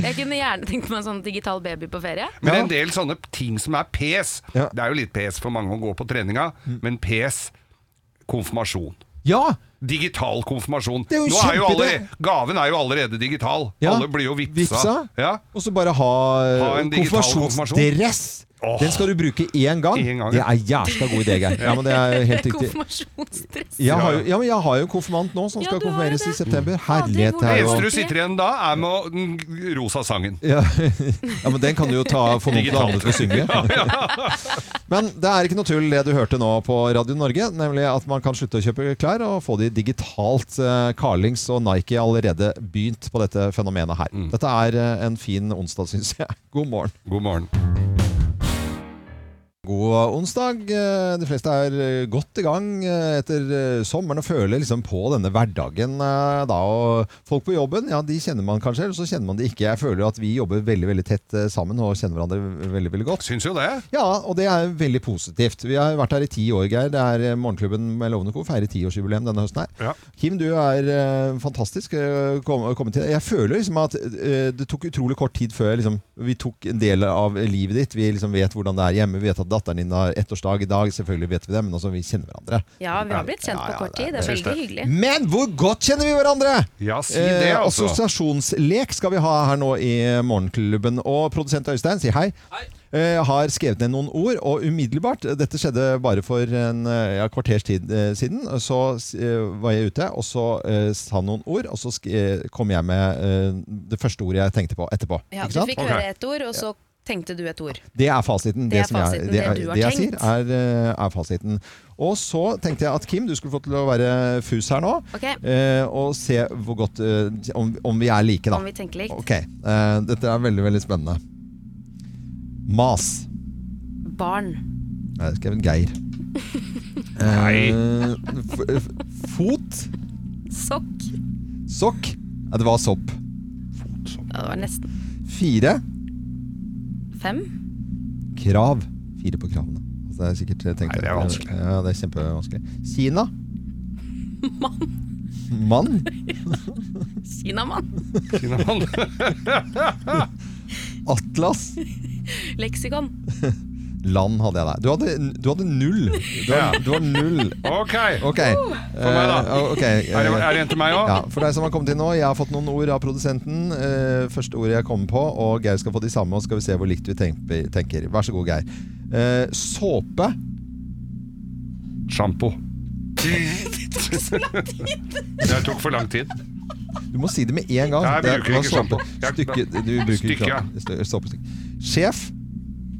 Jeg kunne gjerne tenkt meg en sånn digital baby på ferie.
Men en del sånne ting som er pes. Det er jo litt pes for mange å gå på treninga,
Mm.
men pes konfirmasjon.
Ja!
Digital konfirmasjon.
er jo
Nå er jo
kjempeidé.
allerede, gaven er jo allerede digital.
Ja.
Alle blir jo vipsa.
Vipsa?
Ja.
Og så bare ha, eh,
Ha en digital
konfirmasjonsdress.
konfirmasjon.
Den skal du bruke én gang.
Én gang,
Det
ja.
er jævla god idé, Geir. Ja, men det er helt riktig.
Konfirmasjonsdress.
Jeg har jo, ja, men jeg har jo en konfirmant nå som skal konfirmeres i september. Herlighet.
Det
det er jo-
eneste du sitter igjen da, er med å- den rosa sangen.
Ja, ja, men den kan du jo ta for noen
Digitalt.
andre til å synge.
Ja,
Men det er ikke noe tull det du hørte nå på Radio Norge, nemlig at man kan slutte å kjøpe klær og få de digitalt. Eh, Carlings og Nike har allerede begynt på dette fenomenet her.
Mm.
Dette er eh, en fin onsdag, syns jeg. God morgen.
God morgen.
God onsdag. Eh, De fleste er eh, godt i gang eh, etter eh, sommeren og føler liksom på denne hverdagen. eh, Da. Og folk på jobben ja, de kjenner man kanskje, eller så kjenner man de ikke. Jeg føler jo at vi jobber veldig veldig tett eh, sammen og kjenner hverandre veldig veldig godt.
Syns jo det.
Ja, og det er veldig positivt. Vi har vært her i ti år, Geir. Det er eh, Morgenklubben med Lovende Co. feirer tiårsjubileum denne høsten her. Kim, du er eh, fantastisk. eh, Kom, kommet til. Jeg føler liksom at eh, det tok utrolig kort tid før liksom, vi tok en del av livet ditt. Vi liksom vet hvordan det er hjemme. Vi vet at datteren din har ettårsdag i dag. Selvfølgelig vet vi det, men altså, vi kjenner hverandre.
Ja, vi har blitt kjent på kort tid. Det er veldig hyggelig.
Men hvor godt kjenner vi hverandre?
Ja, si det,
Eh,
altså.
assosiasjonslek skal vi ha her nå i Morgenklubben. Og produsent Øystein, si hei. Eh, har skrevet ned noen ord, og umiddelbart Dette skjedde bare for en eh, ja, kvarters tid eh, siden. Så eh, var jeg ute, og så eh, sa han noen ord, og så sk eh, kom jeg med eh, det første ordet jeg tenkte på etterpå.
Ja,
Ikke
du
sant?
fikk høre et ord, og så tenkte du et ord.
Det er fasiten.
Det er
som jeg-
fasiten,
det,
det du har
det jeg
tenkt.
sier, er, eh, er fasiten. Og så tenkte jeg at Kim, du skulle få til å være fus her nå.
Ok.
eh, Og se hvor godt eh, om, om vi er like, da.
Om vi tenker likt.
Ok. eh, Dette er veldig, veldig spennende. Mas.
Barn.
Nei, det skrev Geir. Nei. Fot.
Sokk.
Sokk. Nei, det var sopp.
Ja, det var nesten
Fire.
fem.
Krav. Fire på kravene. Altså, det er sikkert tenkt Nei, det er vanskelig. Ja, det er kjempevanskelig. Kina. Mann.
Kinamann.
Kinamann. Atlas.
Leksikon.
Land hadde jeg der. Du hadde, du hadde null. Du var,
Ja.
du var null.
Ok.
Ok.
For meg, da.
Eh, ok.
Er det- er det en til meg også?
Ja, for deg som har kommet inn nå. Jeg har fått noen ord av produsenten. Eh, første ordet jeg kommer på, og Geir skal få de samme, og så skal vi se hvor likt vi tenker. tenker. Vær så god, Geir. Eh, såpe.
Sjampo. Jeg tok for lang tid.
Du må si det med en gang.
Nei, jeg
Det er- det
bruker
var
ikke
såpe.
sjampo. Jeg-
Stykke, du bruker
Stykke,
ikke
ja.
sjampo. Såpestykke. Sjef.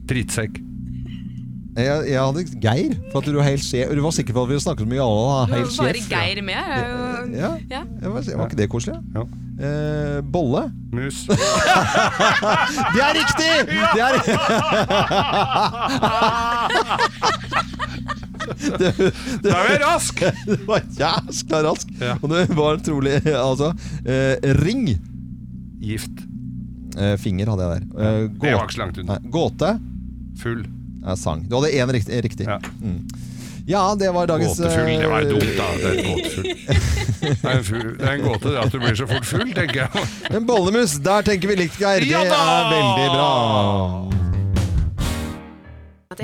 Drittsekk.
Jeg, jeg hadde Geir, for at du var helt sjef. Du var sikker på at vi snakket så mye om
Det
helt
var bare
sjef.
Geir med her. er jo-
Ja.
Ja.
Jeg var, var ikke det koselig?
Ja.
Eh, bolle.
Mus.
det er riktig! Det, er... det, det,
Da er vi rask!
Det var jæskla rask. Og det var trolig Altså, eh, ring.
Gift.
Eh, finger hadde jeg der. Eh,
Det var ikke så langt unna.
Nei, gåte.
Full.
Ja, sang. Du hadde én riktig. riktig. Ja. Mm. ja, det var dagens
Gåtefull, det var
eh,
dumt, da. Det er gåtefull. Det er en, full, det er en gåte det at du blir så fort full, tenker jeg.
Men bollemus, der tenker vi likt, Geir.
Ja
det
da!
er veldig bra.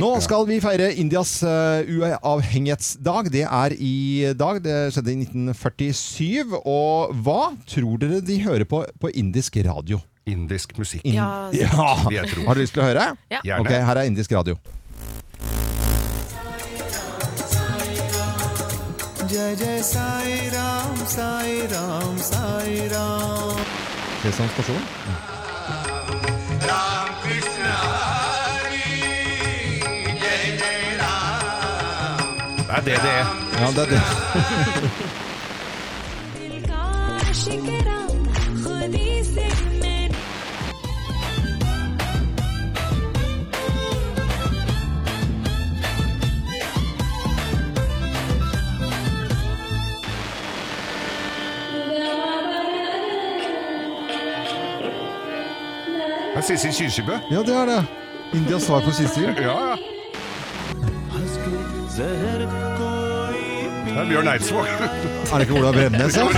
Nå skal vi feire Indias eh, uavhengighetsdag. Det er i dag. Det skjedde i 1947. Og hva tror dere de hører på på indisk radio?
Indisk musikk.
Ja.
Vil jeg tro.
Har du lyst til å høre?
Ja. Gjerne.
Ok, her er indisk radio.
Jai Jai Sai Ram, Sai Ram, Sai Ram.
Sesam stasjon.
Det er det det er.
Ja, det er det.
Det er Sissy Kyrkjebø.
Ja, det er det. Indias svar på siste jul.
Ja, ja. Det er Bjørn Eidsvåg.
Er det ikke Ola Bremnes, da?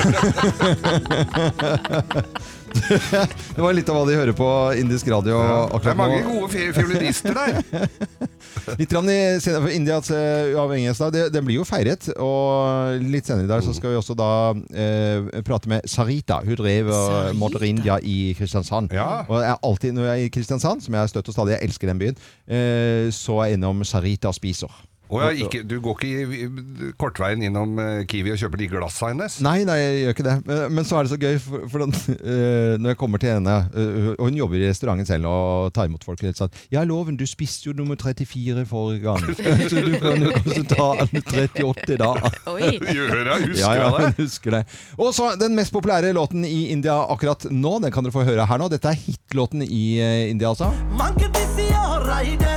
Det var litt av hva de hører på indisk radio akkurat nå.
Det er mange gode fi- fiolinister der.
Litt grann i, senere for Indias eh, uavhengighetsdag. Det, den blir jo feiret. Og litt senere i dag så skal vi også da eh, prate med Sarita. Hun drev uh, Motor India i Kristiansand. Og jeg er alltid når jeg er i Kristiansand, som jeg er støtt og stadig, jeg elsker den byen, eh, så er jeg innom Sarita og spiser.
Og jeg, ikke, du går ikke i, i, kortveien innom eh, Kiwi og kjøper de glassa hennes?
Nei, nei, jeg gjør ikke det. Men, men så er det så gøy, for, for den, eh, når jeg kommer til henne eh, Og hun jobber i restauranten selv og tar imot folk. Og sånn, 'Ja, Loven, du spiste jo nummer 34 forrige gang, så du kan jo kanskje ta nummer 38 da'.
Oi. Gjør jeg, husker
ja, ja,
jeg det?
hun Husker det. Og så den mest populære låten i India akkurat nå. Den kan dere få høre her nå. Dette er hitlåten i eh, India, altså.
Man kan ikke si å reide,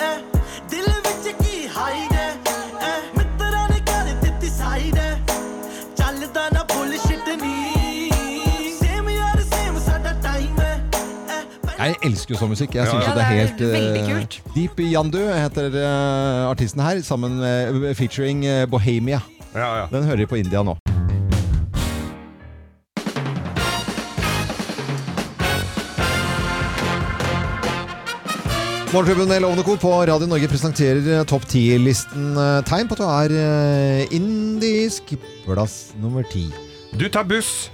eh. Dille vil ikke heide, eh. Mitterne kan ikke decide. ਚੱਲਦਾ ਨਾ bullshit ਨੀ। Same ਯਾਰ, same ਸਾਡਾ time, eh.
Jeg elsker jo sånn musikk. Jeg
Ja,
synes
ja.
jo det er
Ja,
helt
det er veldig
eh,
kult.
Deep Yandu heter eh, artisten her, sammen med featuring eh, Bohemia. Den hører de på India nå. Morgenklubben med Lovende Co. på Radio Norge presenterer eh, topp 10-listen eh, tegn på at du er eh, indisk. Plass nummer ti.
Du tar buss.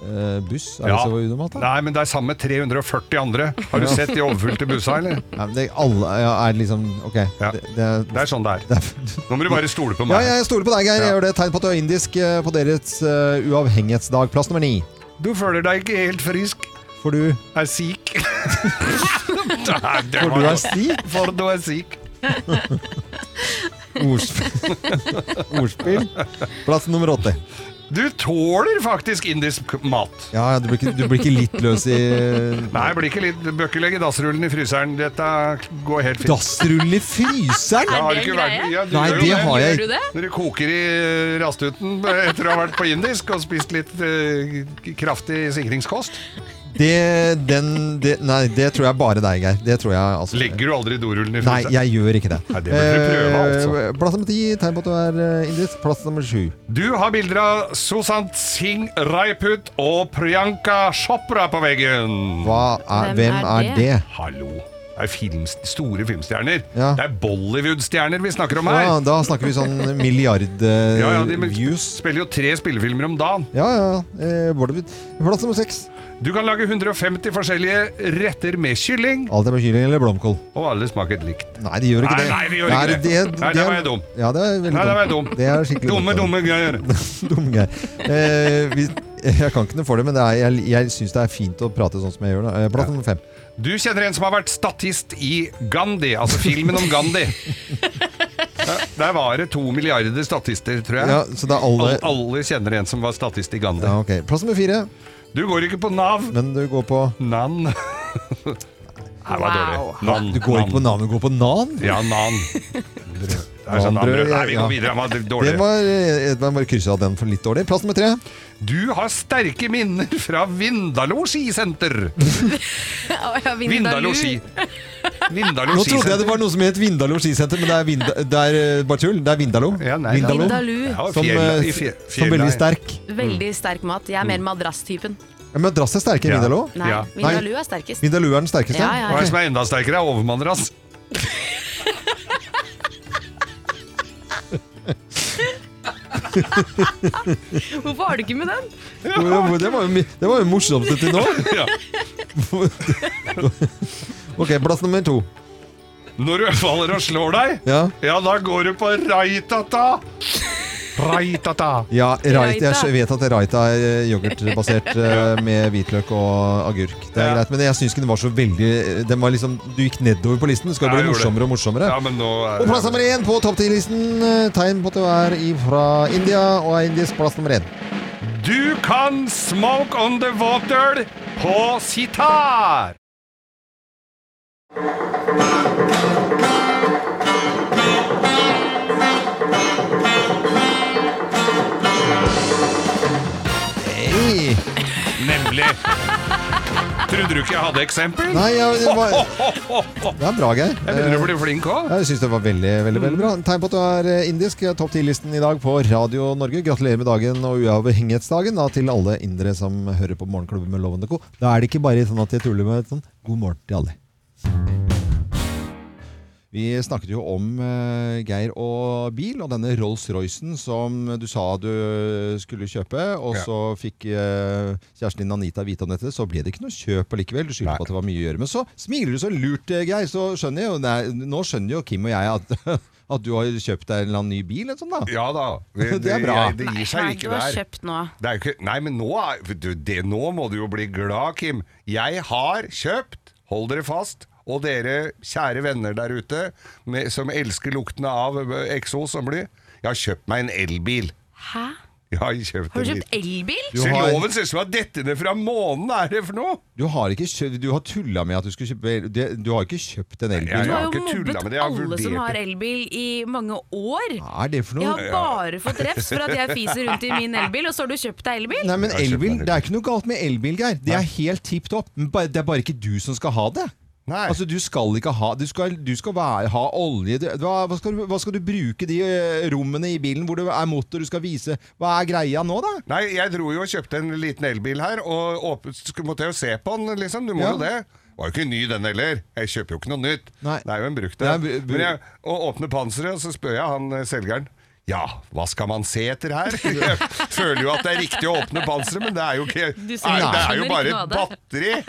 Eh, buss? Er det så unormalt, da?
Nei, men det er sammen med 340 andre. Har du
Ja.
sett de overfylte bussa, eller?
Nei, men det, alle ja, er liksom Ok. Det, det,
Det er sånn det er. Nå må du bare stole på
ja,
meg.
jeg stoler på deg, Geir.
Ja.
Jeg gjør det. Tegn på at du er indisk eh, på deres eh, uavhengighetsdag. Plass nummer ni.
Du føler deg ikke helt frisk.
For du
er syk. Det
For
var
du er
jo-
sik?
For du er sik.
Ordspill. Ordspill. Plass nummer åtte.
Du tåler faktisk indisk mat.
Ja, ja, du blir ikke, du blir ikke litt løs i eh,
Nei, blir ikke litt Du bør ikke legge dassrullen i fryseren. Dette går helt fint.
Dassrull i fryseren?
Ja, har du ikke vært- ja, du
Nei,
gjør jo
det har jeg ikke.
Når du koker i eh, rastuten etter å ha vært på indisk og spist litt eh, kraftig sikringskost.
Det, den, det, nei, det tror jeg bare deg, Geir. Det tror jeg altså
Legger du aldri dorullen i
Nei,
fryseren?
jeg gjør ikke det.
Nei, det burde du prøve, altså.
Eh, Plass nummer ti, tegn på at du er eh, indisk. Plass nummer sju.
Du har bilder av Sushant Singh Rajput og Priyanka Chopra på veggen.
er- Hvem hvem er er det? det?
Hallo. Det er films, store filmstjerner.
Ja.
Det er Bollywood-stjerner vi snakker om her.
Ja, da snakker vi sånn milliard eh,
ja, ja, de spiller jo tre spillefilmer om dagen.
Ja, ja. Eh, Bollywood. Plass nummer seks.
Du kan lage 150 forskjellige retter med kylling,
Alt er med kylling eller blomkål.
og alle smaker likt.
Nei, de gjør ikke
Nei,
det.
nei, de gjør
Nei,
ikke det. Nei, der var jeg dum.
Ja, det er veldig
Nei, der var jeg dum.
Det er skikkelig
Dumme,
dumt.
dumme greier.
Dumme greier. Eh, vi, jeg kan ikke noe for det, men det er, jeg, jeg syns det er fint å prate sånn som jeg gjør nå. Eh, Plass nummer fem.
Du kjenner en som har vært statist i Gandhi, altså filmen om Gandhi. Der- Der var det to milliarder statister, tror jeg.
Ja, så det er alle-
Al- alle kjenner en som var statist i Gandhi.
Ja, ok. Plass nummer fire.
Du går ikke på Nav.
Men du går på
Nan. Det var dårlig. Nan,
Du går ikke på Nan, du går på Nan?
Ja, Nan. Det er sånn
Nanbrød,
Nanbrød. Nei, vi
ja.
går videre. Han var dårlig.
Den var, eh, man bare kryssa den for litt dårlig. Plass nummer tre.
Du har sterke minner fra Vindalo skisenter. Vindalo ski. Vindalo
Nå trodde jeg det
skisenter.
var noe som het Vindalo skisenter, men det er, Vinda, det er eh, bare tull. Det er Vindalo. Vindalo.
Vindaloo. Ja,
Som,
fjell-
eh,
i fje-
som
fjell-
veldig sterk.
Veldig sterk mat. Jeg er
Mm.
mer madrasstypen.
Ja, Men Drass er sterkere enn Vindalo?
Nei,
Ja.
Vindaloo er sterkest.
Vindaloo er den sterkeste?
Ja, ja, ja.
Hva er det som er enda sterkere? er Overmandrass.
Hvorfor har du ikke med den?
Hvor- Det var jo mi- det var jo morsomste til nå.
Ja.
Ok, plass nummer to.
Når du faller og slår deg,
Ja,
ja, da går du på raitata. Raitata.
ja right.
Raita.
Jeg vet at Raita er eh, yoghurtbasert eh, med hvitløk og agurk. Det er
Ja.
greit, men jeg syns ikke den var så veldig den var liksom, Du gikk nedover på listen. Det skal
Ja,
bli
jeg gjorde det.
morsommere og morsommere.
Ja, men nå er
Og plass nummer én på topp ti-listen. eh, Tegn på at du er fra India, og er indisk plass nummer én.
Du kan smoke on the water på sitar.
Hey.
Nemlig. Trodde du ikke jeg hadde eksempel?
Nei, jeg- jeg bare- Det er bra, Geir.
Jeg begynner å bli flink òg.
Jeg syns det var veldig veldig, veldig bra. Tegn på at du er eh, indisk. er Topp 10-listen i dag på Radio Norge. Gratulerer med dagen og uavhengighetsdagen da, til alle indere som hører på Morgenklubben med Loven og Co. Da er det ikke bare sånn at jeg tuller med sånn God morgen til alle. Vi snakket jo om eh, Geir og bil, og denne Rolls-Roycen som du sa du skulle kjøpe, og
Ja.
så fikk eh, kjæresten din Anita vite om dette, så ble det ikke noe kjøp allikevel. Du skylder på at det var mye å gjøre. Men så smiler du så lurt, eh, Geir, så skjønner jeg jo nei, Nå skjønner jo Kim og jeg at, at du har kjøpt deg en eller annen ny bil, eller sånn da.
Ja da.
Det er bra.
jeg- det gir
Hva
seg
er det
ikke
du har
der.
kjøpt nå?
Det er jo ikke, nei, men nå, er- du, det, nå må du jo bli glad, Kim. Jeg har kjøpt, hold dere fast, og dere kjære venner der ute med, som elsker luktene av eh, ø, eksos og bly, jeg har kjøpt meg en elbil.
Hæ?
Jeg har kjøpt
Har du
en
kjøpt elbil?
Du
Se,
har-
loven ser ut som at dette ned fra månen er det for noe!
Du har ikke kjøpt, du har tulla med at du skulle kjøpe det, Du har ikke kjøpt en elbil.
jeg
Du har jo
ikke tullet
mobbet
med det, jeg har
alle som
vurdert
har
det.
elbil i mange år.
Hva er det for
Jeg
noe?
har bare fått refs for at jeg fiser rundt i min elbil, og så har du kjøpt deg elbil?
Nei, men elbil, Det er ikke noe galt med elbil, Geir. Det er helt tipp topp. Men bare- Det er bare ikke du som skal ha det. Altså, Du skal ikke ha Du skal, du skal være, ha olje Du- hva, hva, skal du, hva skal du bruke de eh, rommene i bilen hvor det er motor du skal vise? Hva er greia nå, da?
Nei, jeg dro jo og kjøpte en liten elbil her, og åp- sk- måtte jeg jo se på den, liksom. Du må
Ja.
jo det. Var jo ikke ny den heller. Jeg kjøper jo ikke noe nytt. Det er jo en brukt
Det er
en.
br- br-
Men jeg- Og åpner panseret, og så spør jeg han eh, selgeren. Ja, hva skal man se etter her? Jeg føler jo at det er riktig å åpne panseret, men det er jo ikke er,
Du
Det
skjønner-
er jo
skjønner
bare
ikke
et
noe av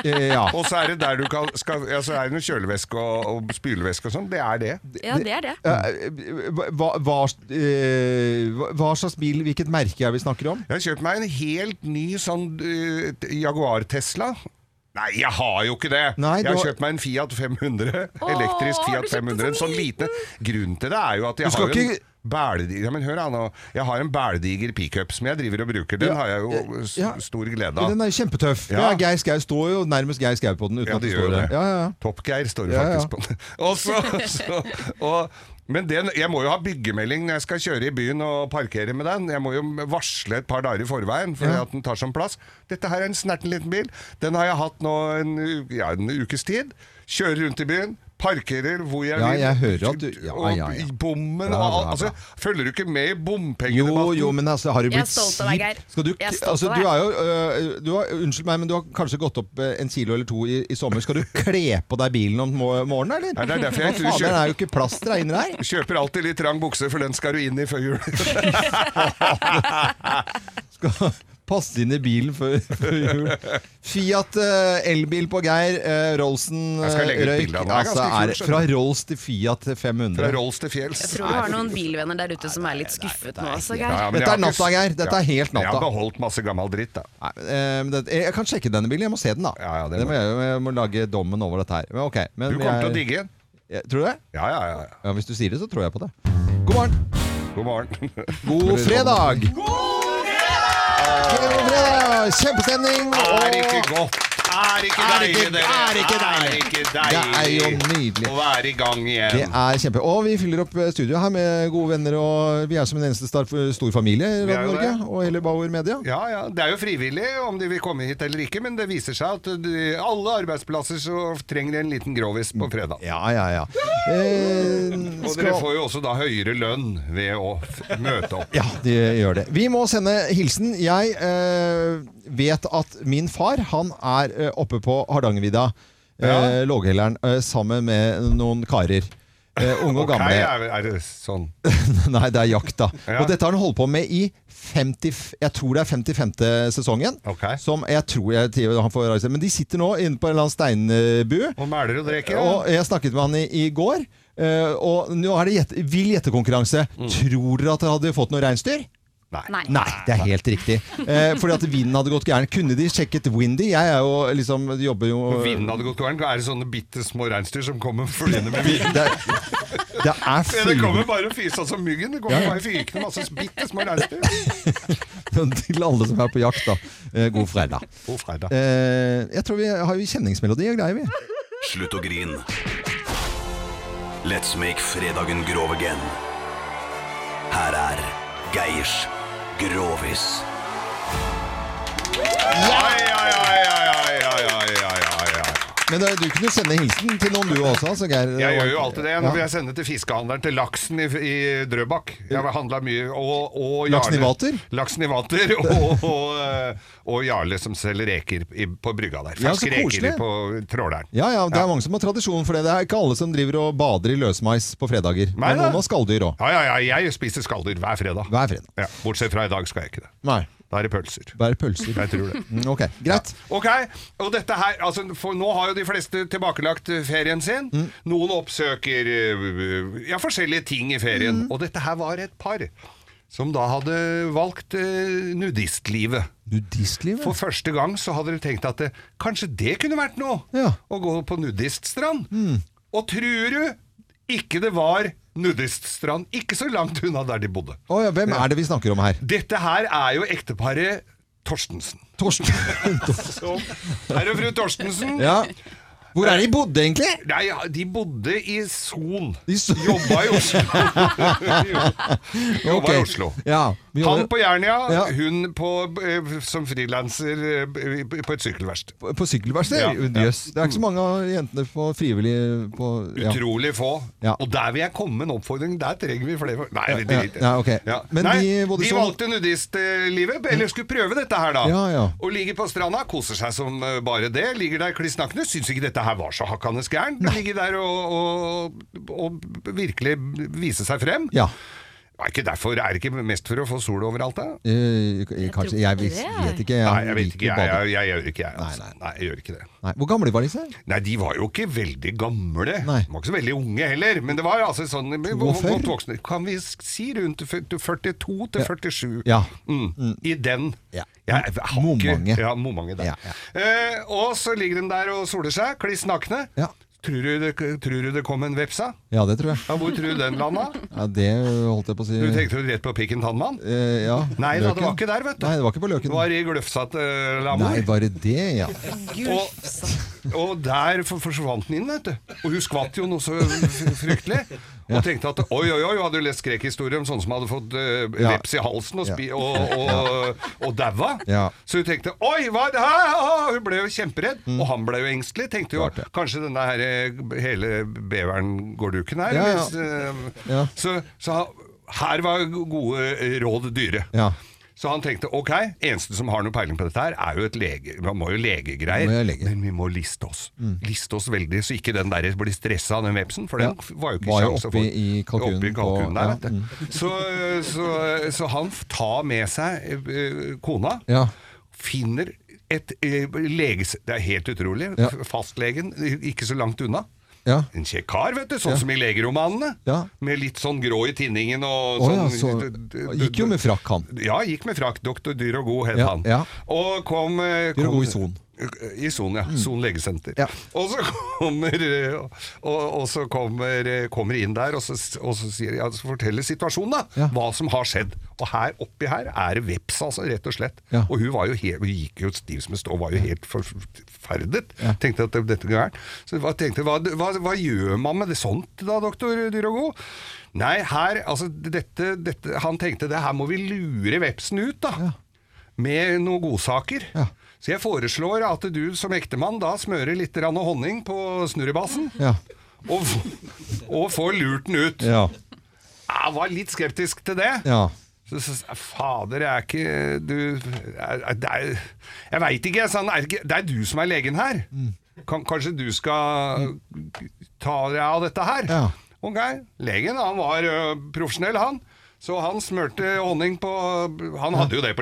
batteri!
det. Ja.
Og så er det der du kan skal, ja, Så er det noe kjølevæske og, og spylevæske og sånn. Det er det.
Ja, det er det.
Mm.
Eh, Hva, hva, eh, hva- hva slags bil, hvilket merke er vi snakker om?
Jeg har kjøpt meg en helt ny sånn eh, Jaguar Tesla. Nei, jeg har jo ikke det.
Nei,
jeg
du
har
har-
kjøpt meg en Fiat 500. elektrisk
har du
Fiat
kjøpt en
500. En sånn liten. Grunnen til det er jo at
Du
jeg
skal
har jo en
ikke-
bælediger, ja, men hør da nå. Jeg har en bælediger pickup som jeg driver og bruker. Den
Ja,
har jeg jo s-
ja.
stor glede av.
Den er jo kjempetøff. Ja.
Ja.
Geir Skau står jo nærmest Geir Skau på den. Uten
Ja,
at det
det gjør
står
jo
det.
det.
Ja, ja, ja.
Toppgeir står det
Ja, ja.
faktisk på den. Og så, så, og, men den, jeg må jo ha byggemelding når jeg skal kjøre i byen og parkere med den. Jeg må jo varsle et par dager i forveien, for
Ja.
at den tar sånn plass. Dette her er en snerten liten bil. Den har jeg hatt nå en, u- ja, en ukes tid. Kjører rundt i byen. Parkerer hvor jeg
Ja,
vil.
jeg hører at du Ja,
Og
ja, ja.
i bommen
Bra,
og alt.
bra, bra.
Altså, følger du ikke med i
Jo,
bompengedebatten?
jo, men altså, har du
Jeg er
blitt
stolt av deg, Geir.
Skal du,
Jeg er stolt
altså,
av
du
deg.
er jo, øh, du har, unnskyld meg, men du har kanskje gått opp øh, en kilo eller to i, i sommer. Skal du kle på deg bilen om mo- morgenen, eller?
Nei, det er derfor
Hva
jeg tror
faen,
kjø-
det er jo ikke plaster her inne her.
Kjøper alltid litt trang bukse, for den skal du inn i før jul.
Passe inn i bilen før, før jul. Fiat eh, elbil på Geir. eh, Rollsen
Jeg skal legge ut
eh, røyk.
bilde av den. Den er
Altså,
ganske kul,
er,
skjønner
fra
du.
Rolls til Fiat 500.
Fra Rolls til fjells.
Jeg tror du har noen bilvenner der ute som er litt skuffet nå også, Geir.
Ja, ja, men
Dette
jeg har
er natta,
ikke-
Geir. Dette er helt
Jeg har
natta.
beholdt masse gammel dritt, da.
Nei, men, eh, men det, jeg kan sjekke denne bilen. Jeg må se den, da. det må jeg, gjøre. jeg må lage dommen over dette her. Men, ok, men
Du kommer
jeg-
til å digge den.
Jeg- Tror du det?
Ja, ja, ja. ja.
Ja, Hvis du sier det, så tror jeg på det. God morgen.
God morgen.
God fredag! God fredag! Kjempestemning!
Er
og-
ikke godt. Er ikke
Er
deilig,
ikke-
dere.
er ikke deilig.
Er ikke
Det er jo
deilig
nydelig.
Å være i gang igjen.
Det er kjempe. Og vi fyller opp eh, studio her med gode venner, og vi er som en eneste star, stor familie i
Vi er
Radio
jo
Norge.
det.
Og hele Bauer Media.
Ja, ja. Det er jo frivillig om de vil komme hit eller ikke, men det viser seg at de, alle arbeidsplasser så trenger en liten grovis på fredag.
Ja, ja, ja. Eh,
Og dere
skal...
får jo også da høyere lønn ved å f- møte opp.
Ja, de gjør det. Vi må sende hilsen. Jeg eh, vet at min far, han er eh, oppe på Hardangervidda, eh, Låghelleren, eh, sammen med noen karer. Eh, unge og
Ok,
gamle.
er, er det sånn?
Nei, det er jakt, da.
Ja.
Og dette har han holdt på med i 50, f- jeg tror det er 55. sesongen. Som jeg tror jeg til- han får reise. Men de sitter nå inne på en eller annen steinbu.
Og mæler og drikker, ja.
Og jeg snakket med han i, i går, eh, og nå er det gjette- vill gjettekonkurranse.
Mm.
Tror dere at de hadde fått noe reinsdyr?
Nei.
Nei, det er helt riktig. Eh, fordi at vinden hadde gått gæren. Kunne de sjekket Windy? Jeg er jo liksom jobber jo
Og vinden hadde gått gæren. Er det sånne bitte små reinsdyr som kommer flyende med vinden?
Det, det er
Ja, det kommer bare og fyser som myggen. Det kommer
Ja.
bare fyrkende masse bitte små reinsdyr.
Men til alle som er på jakt, da. eh, God fredag.
God fredag.
Eh, jeg tror vi har jo kjenningsmelodi og greier, vi.
Slutt å grin. Let's make fredagen grov again. Her er Geirs Grovis.
Ai, ai, ai, ai, ai, ai, ai, ai, ai, ai.
Men eh, du kunne sende hilsen til noen du også, altså, Geir.
Jeg gjør jo alltid det. Nå
Ja.
vil jeg sende til fiskehandleren til laksen i, i Drøbak. Jeg har handla mye. Og, og
Laksen i vater?
Laksen i vater og, og, eh, og Jarle som selger reker i, på brygga der.
Ja, så
Ferske reker
koselig.
på tråleren.
Ja, ja, Det er mange som har tradisjon for det. Det er ikke alle som driver og bader i løsmeis på fredager.
Nei,
Men
nei.
noen har skalldyr òg.
Ja, ja, ja, jeg spiser skalldyr hver fredag. Ja, bortsett fra i dag skal jeg ikke det.
Nei.
Da er det pølser.
Bare pølser.
Jeg tror det.
Mm, Ok, greit.
Ok, og dette her, altså, for nå har jo de fleste tilbakelagt eh, ferien sin. Noen oppsøker eh, ja, forskjellige ting i ferien. Og dette her var et par som da hadde valgt eh, nudistlivet.
Nudistlivet?
For første gang så hadde de tenkt at det, kanskje det kunne vært noe å gå på nudiststrand. Og tror du ikke det var nudiststrand ikke så langt unna der de bodde?
Å ja, hvem er det vi snakker om her?
Dette her er jo ekteparet Torstensen. Torsten. Herr og fru Torstensen.
Ja. Hvor er det de bodde, egentlig?
Nei, ja, De bodde i Son. Jobba i Oslo. Jobba i
Ok.
Oslo.
Ja, vi
Han
jobber-
på Jernia,
Ja.
hun på, eh, som frilanser eh, på et sykkelverksted.
På- På sykkelverksted?
Ja, ja.
Jøss. Det er ikke så mange av jentene på frivillig på ja.
Utrolig få.
Ja.
Og der vil jeg komme med en oppfordring. Der trenger vi flere Nei, vi
Ja,
driter.
ja, ok. Men
Nei,
de både
de
som-
valgte nudistlivet, eller skulle prøve dette her, da.
Ja, ja.
Og ligger på stranda, koser seg som eh, bare det. Ligger der kliss nakne. Syns ikke dette her var så hakkande gærent. men Ligger der og, og, og virkelig vise seg frem.
Ja.
Er ikke derfor, er det ikke mest for å få sol overalt, da?
Eh, kanskje, jeg vis- vet ikke. Jeg,
Nei, jeg vet
liker
ikke. Jeg,
bading.
jeg, jeg gjør ikke jeg, altså. Nei, jeg gjør ikke det.
Nei, hvor gamle var disse?
Nei, de var jo ikke veldig gamle. De var ikke så veldig unge heller. Men det var altså sånn men hvor- hvor
42?
godt voksne. Kan vi si rundt 42 til 47?
Ja.
Mm. I den. Jeg har ikke- Ja, momange der. Eh, og så ligger den der og soler seg, kliss nakne. Tror, du det, tror du det kom en veps av?
Ja, det tror jeg.
Ja, hvor tror du den landa?
Ja, det holdt jeg på å si.
Du tenkte jo rett på pikken tannmann?
Eh, ja.
Nei da, det var
Løken.
ikke der, vet du.
Nei, det var ikke på løken.
Det var i gløfsatt uh,
Nei,
lamor.
var det det, ja.
Og, og der for- forsvant den inn, vet du. Og hun skvatt jo noe så f- fryktelig. Og tenkte at oi, oi, oi, hadde du lest skrekkhistorier om sånne som hadde fått eh,
Ja.
veps i halsen og, spi,
Ja.
og, og, og daua?
Ja.
Så hun tenkte oi, hva er det her? Ah, Hun ble jo kjemperedd.
Mm.
Og han ble jo engstelig. Tenkte jo kanskje denne her, eh, hele beveren-gårduken her.
Ja, ja.
Hvis, eh,
Ja.
Så, så her var gode råd dyre.
Ja.
Så han tenkte ok, eneste som har noe peiling på dette her, er jo et lege, man må jo legegreier.
Må jo lege. Mm.
Men vi må liste oss. Liste oss veldig, så ikke den der blir stressa av den vepsen, for
Ja.
den f- var jo ikke
Var jo
sjanse
oppi i kalkunen
Oppi
på-
kalkunen der,
ja, mm.
vet du. Så, så, så han f- tar med seg eh, kona,
Ja.
finner et eh, leges... Det er helt utrolig.
Ja.
F- Fastlegen, ikke så langt unna.
Ja.
En kjekk kar, vet du, sånn
Ja.
som i legeromanene.
Ja.
Med litt sånn grå i tinningen og
Å
sånn
ja, så gikk jo med frakk, han.
ja, gikk med frakk. Doktor Dyr og God het
Ja,
han.
ja.
Og kom, eh,
Dyr og
kom- eh,
God i Son. Mm.
I Son, ja. Son legesenter. Og så kommer, eh, og, og så kommer, eh, kommer inn der og så, og så sier, ja, så forteller situasjonen, da. Hva som har skjedd. Og her oppi her er det veps, altså, rett og slett.
Ja.
Og hun, var jo helt, hun gikk jo stiv som en stå, var jo helt forferdet. Tenkte at dette var gærent. Så hva, tenkte, hva, hva, hva gjør man med det sånt da, doktor Dyr og God? Nei, her, altså, dette, dette, han tenkte det her må vi lure vepsen ut, da med noen godsaker. Så jeg foreslår at du som ektemann da smører litt grann honning på snurrebassen,
Ja.
og, f- og får lurt den ut.
Ja.
Jeg var litt skeptisk til det.
Ja.
Så, så, fader, jeg er ikke du, er, er, det er- Jeg veit ikke, jeg sa. han, Er, det ikke- det er du som er legen her.
Mm.
Kan, kanskje du skal ta deg av dette her? Ok, Legen han var ø, profesjonell, han. Så han smurte honning på Han hadde jo det på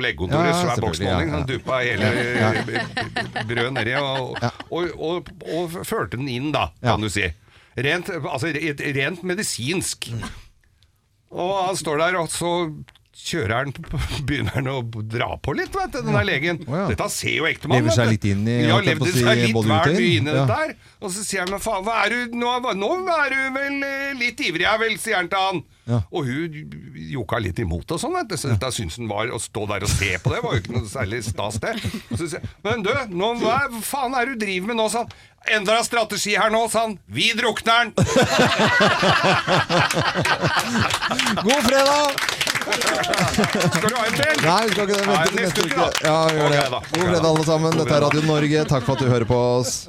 Ja,
legekontoret,
ja,
svær boks med
selvfølgelig,
honning.
ja,
Han
ja.
duppa hele
Ja.
ø, brødet nedi og, og, og, og førte den inn, da,
Ja.
kan du si. Rent, altså, re- rent medisinsk.
Mm.
Og han står der, og så kjører han begynner han å dra på litt, vet du, den der legen. Dette ser jo ektemann,
Lever
vet
seg
du.
litt inn i-
Ja,
holdt jeg på å
levde
si,
seg litt
både ut og
vel
inn.
mye inn i
Ja.
dette her. Og så sier han, men faen, hva er du, nå, nå er du vel eh, litt ivrig her vel, sier han til han. Og hun joka litt imot og sånn, vet du. Så dette syns hun var, å stå der og se på det, var jo ikke noe særlig stas det. Og Så sier han, men du, nå, hva er- faen er det du driver med nå, sa han. Endra strategi her nå, sa han. Vi drukner den!
God fredag!
Skal du ha en til?
Nei, vi skal ikke det.
Nei,
Vente til
neste
neste
uke,
uke.
da.
Ja, vi gjør det.
Ok, da.
God fredag, alle sammen. Dette er Radio Norge. Takk for at du hører på oss.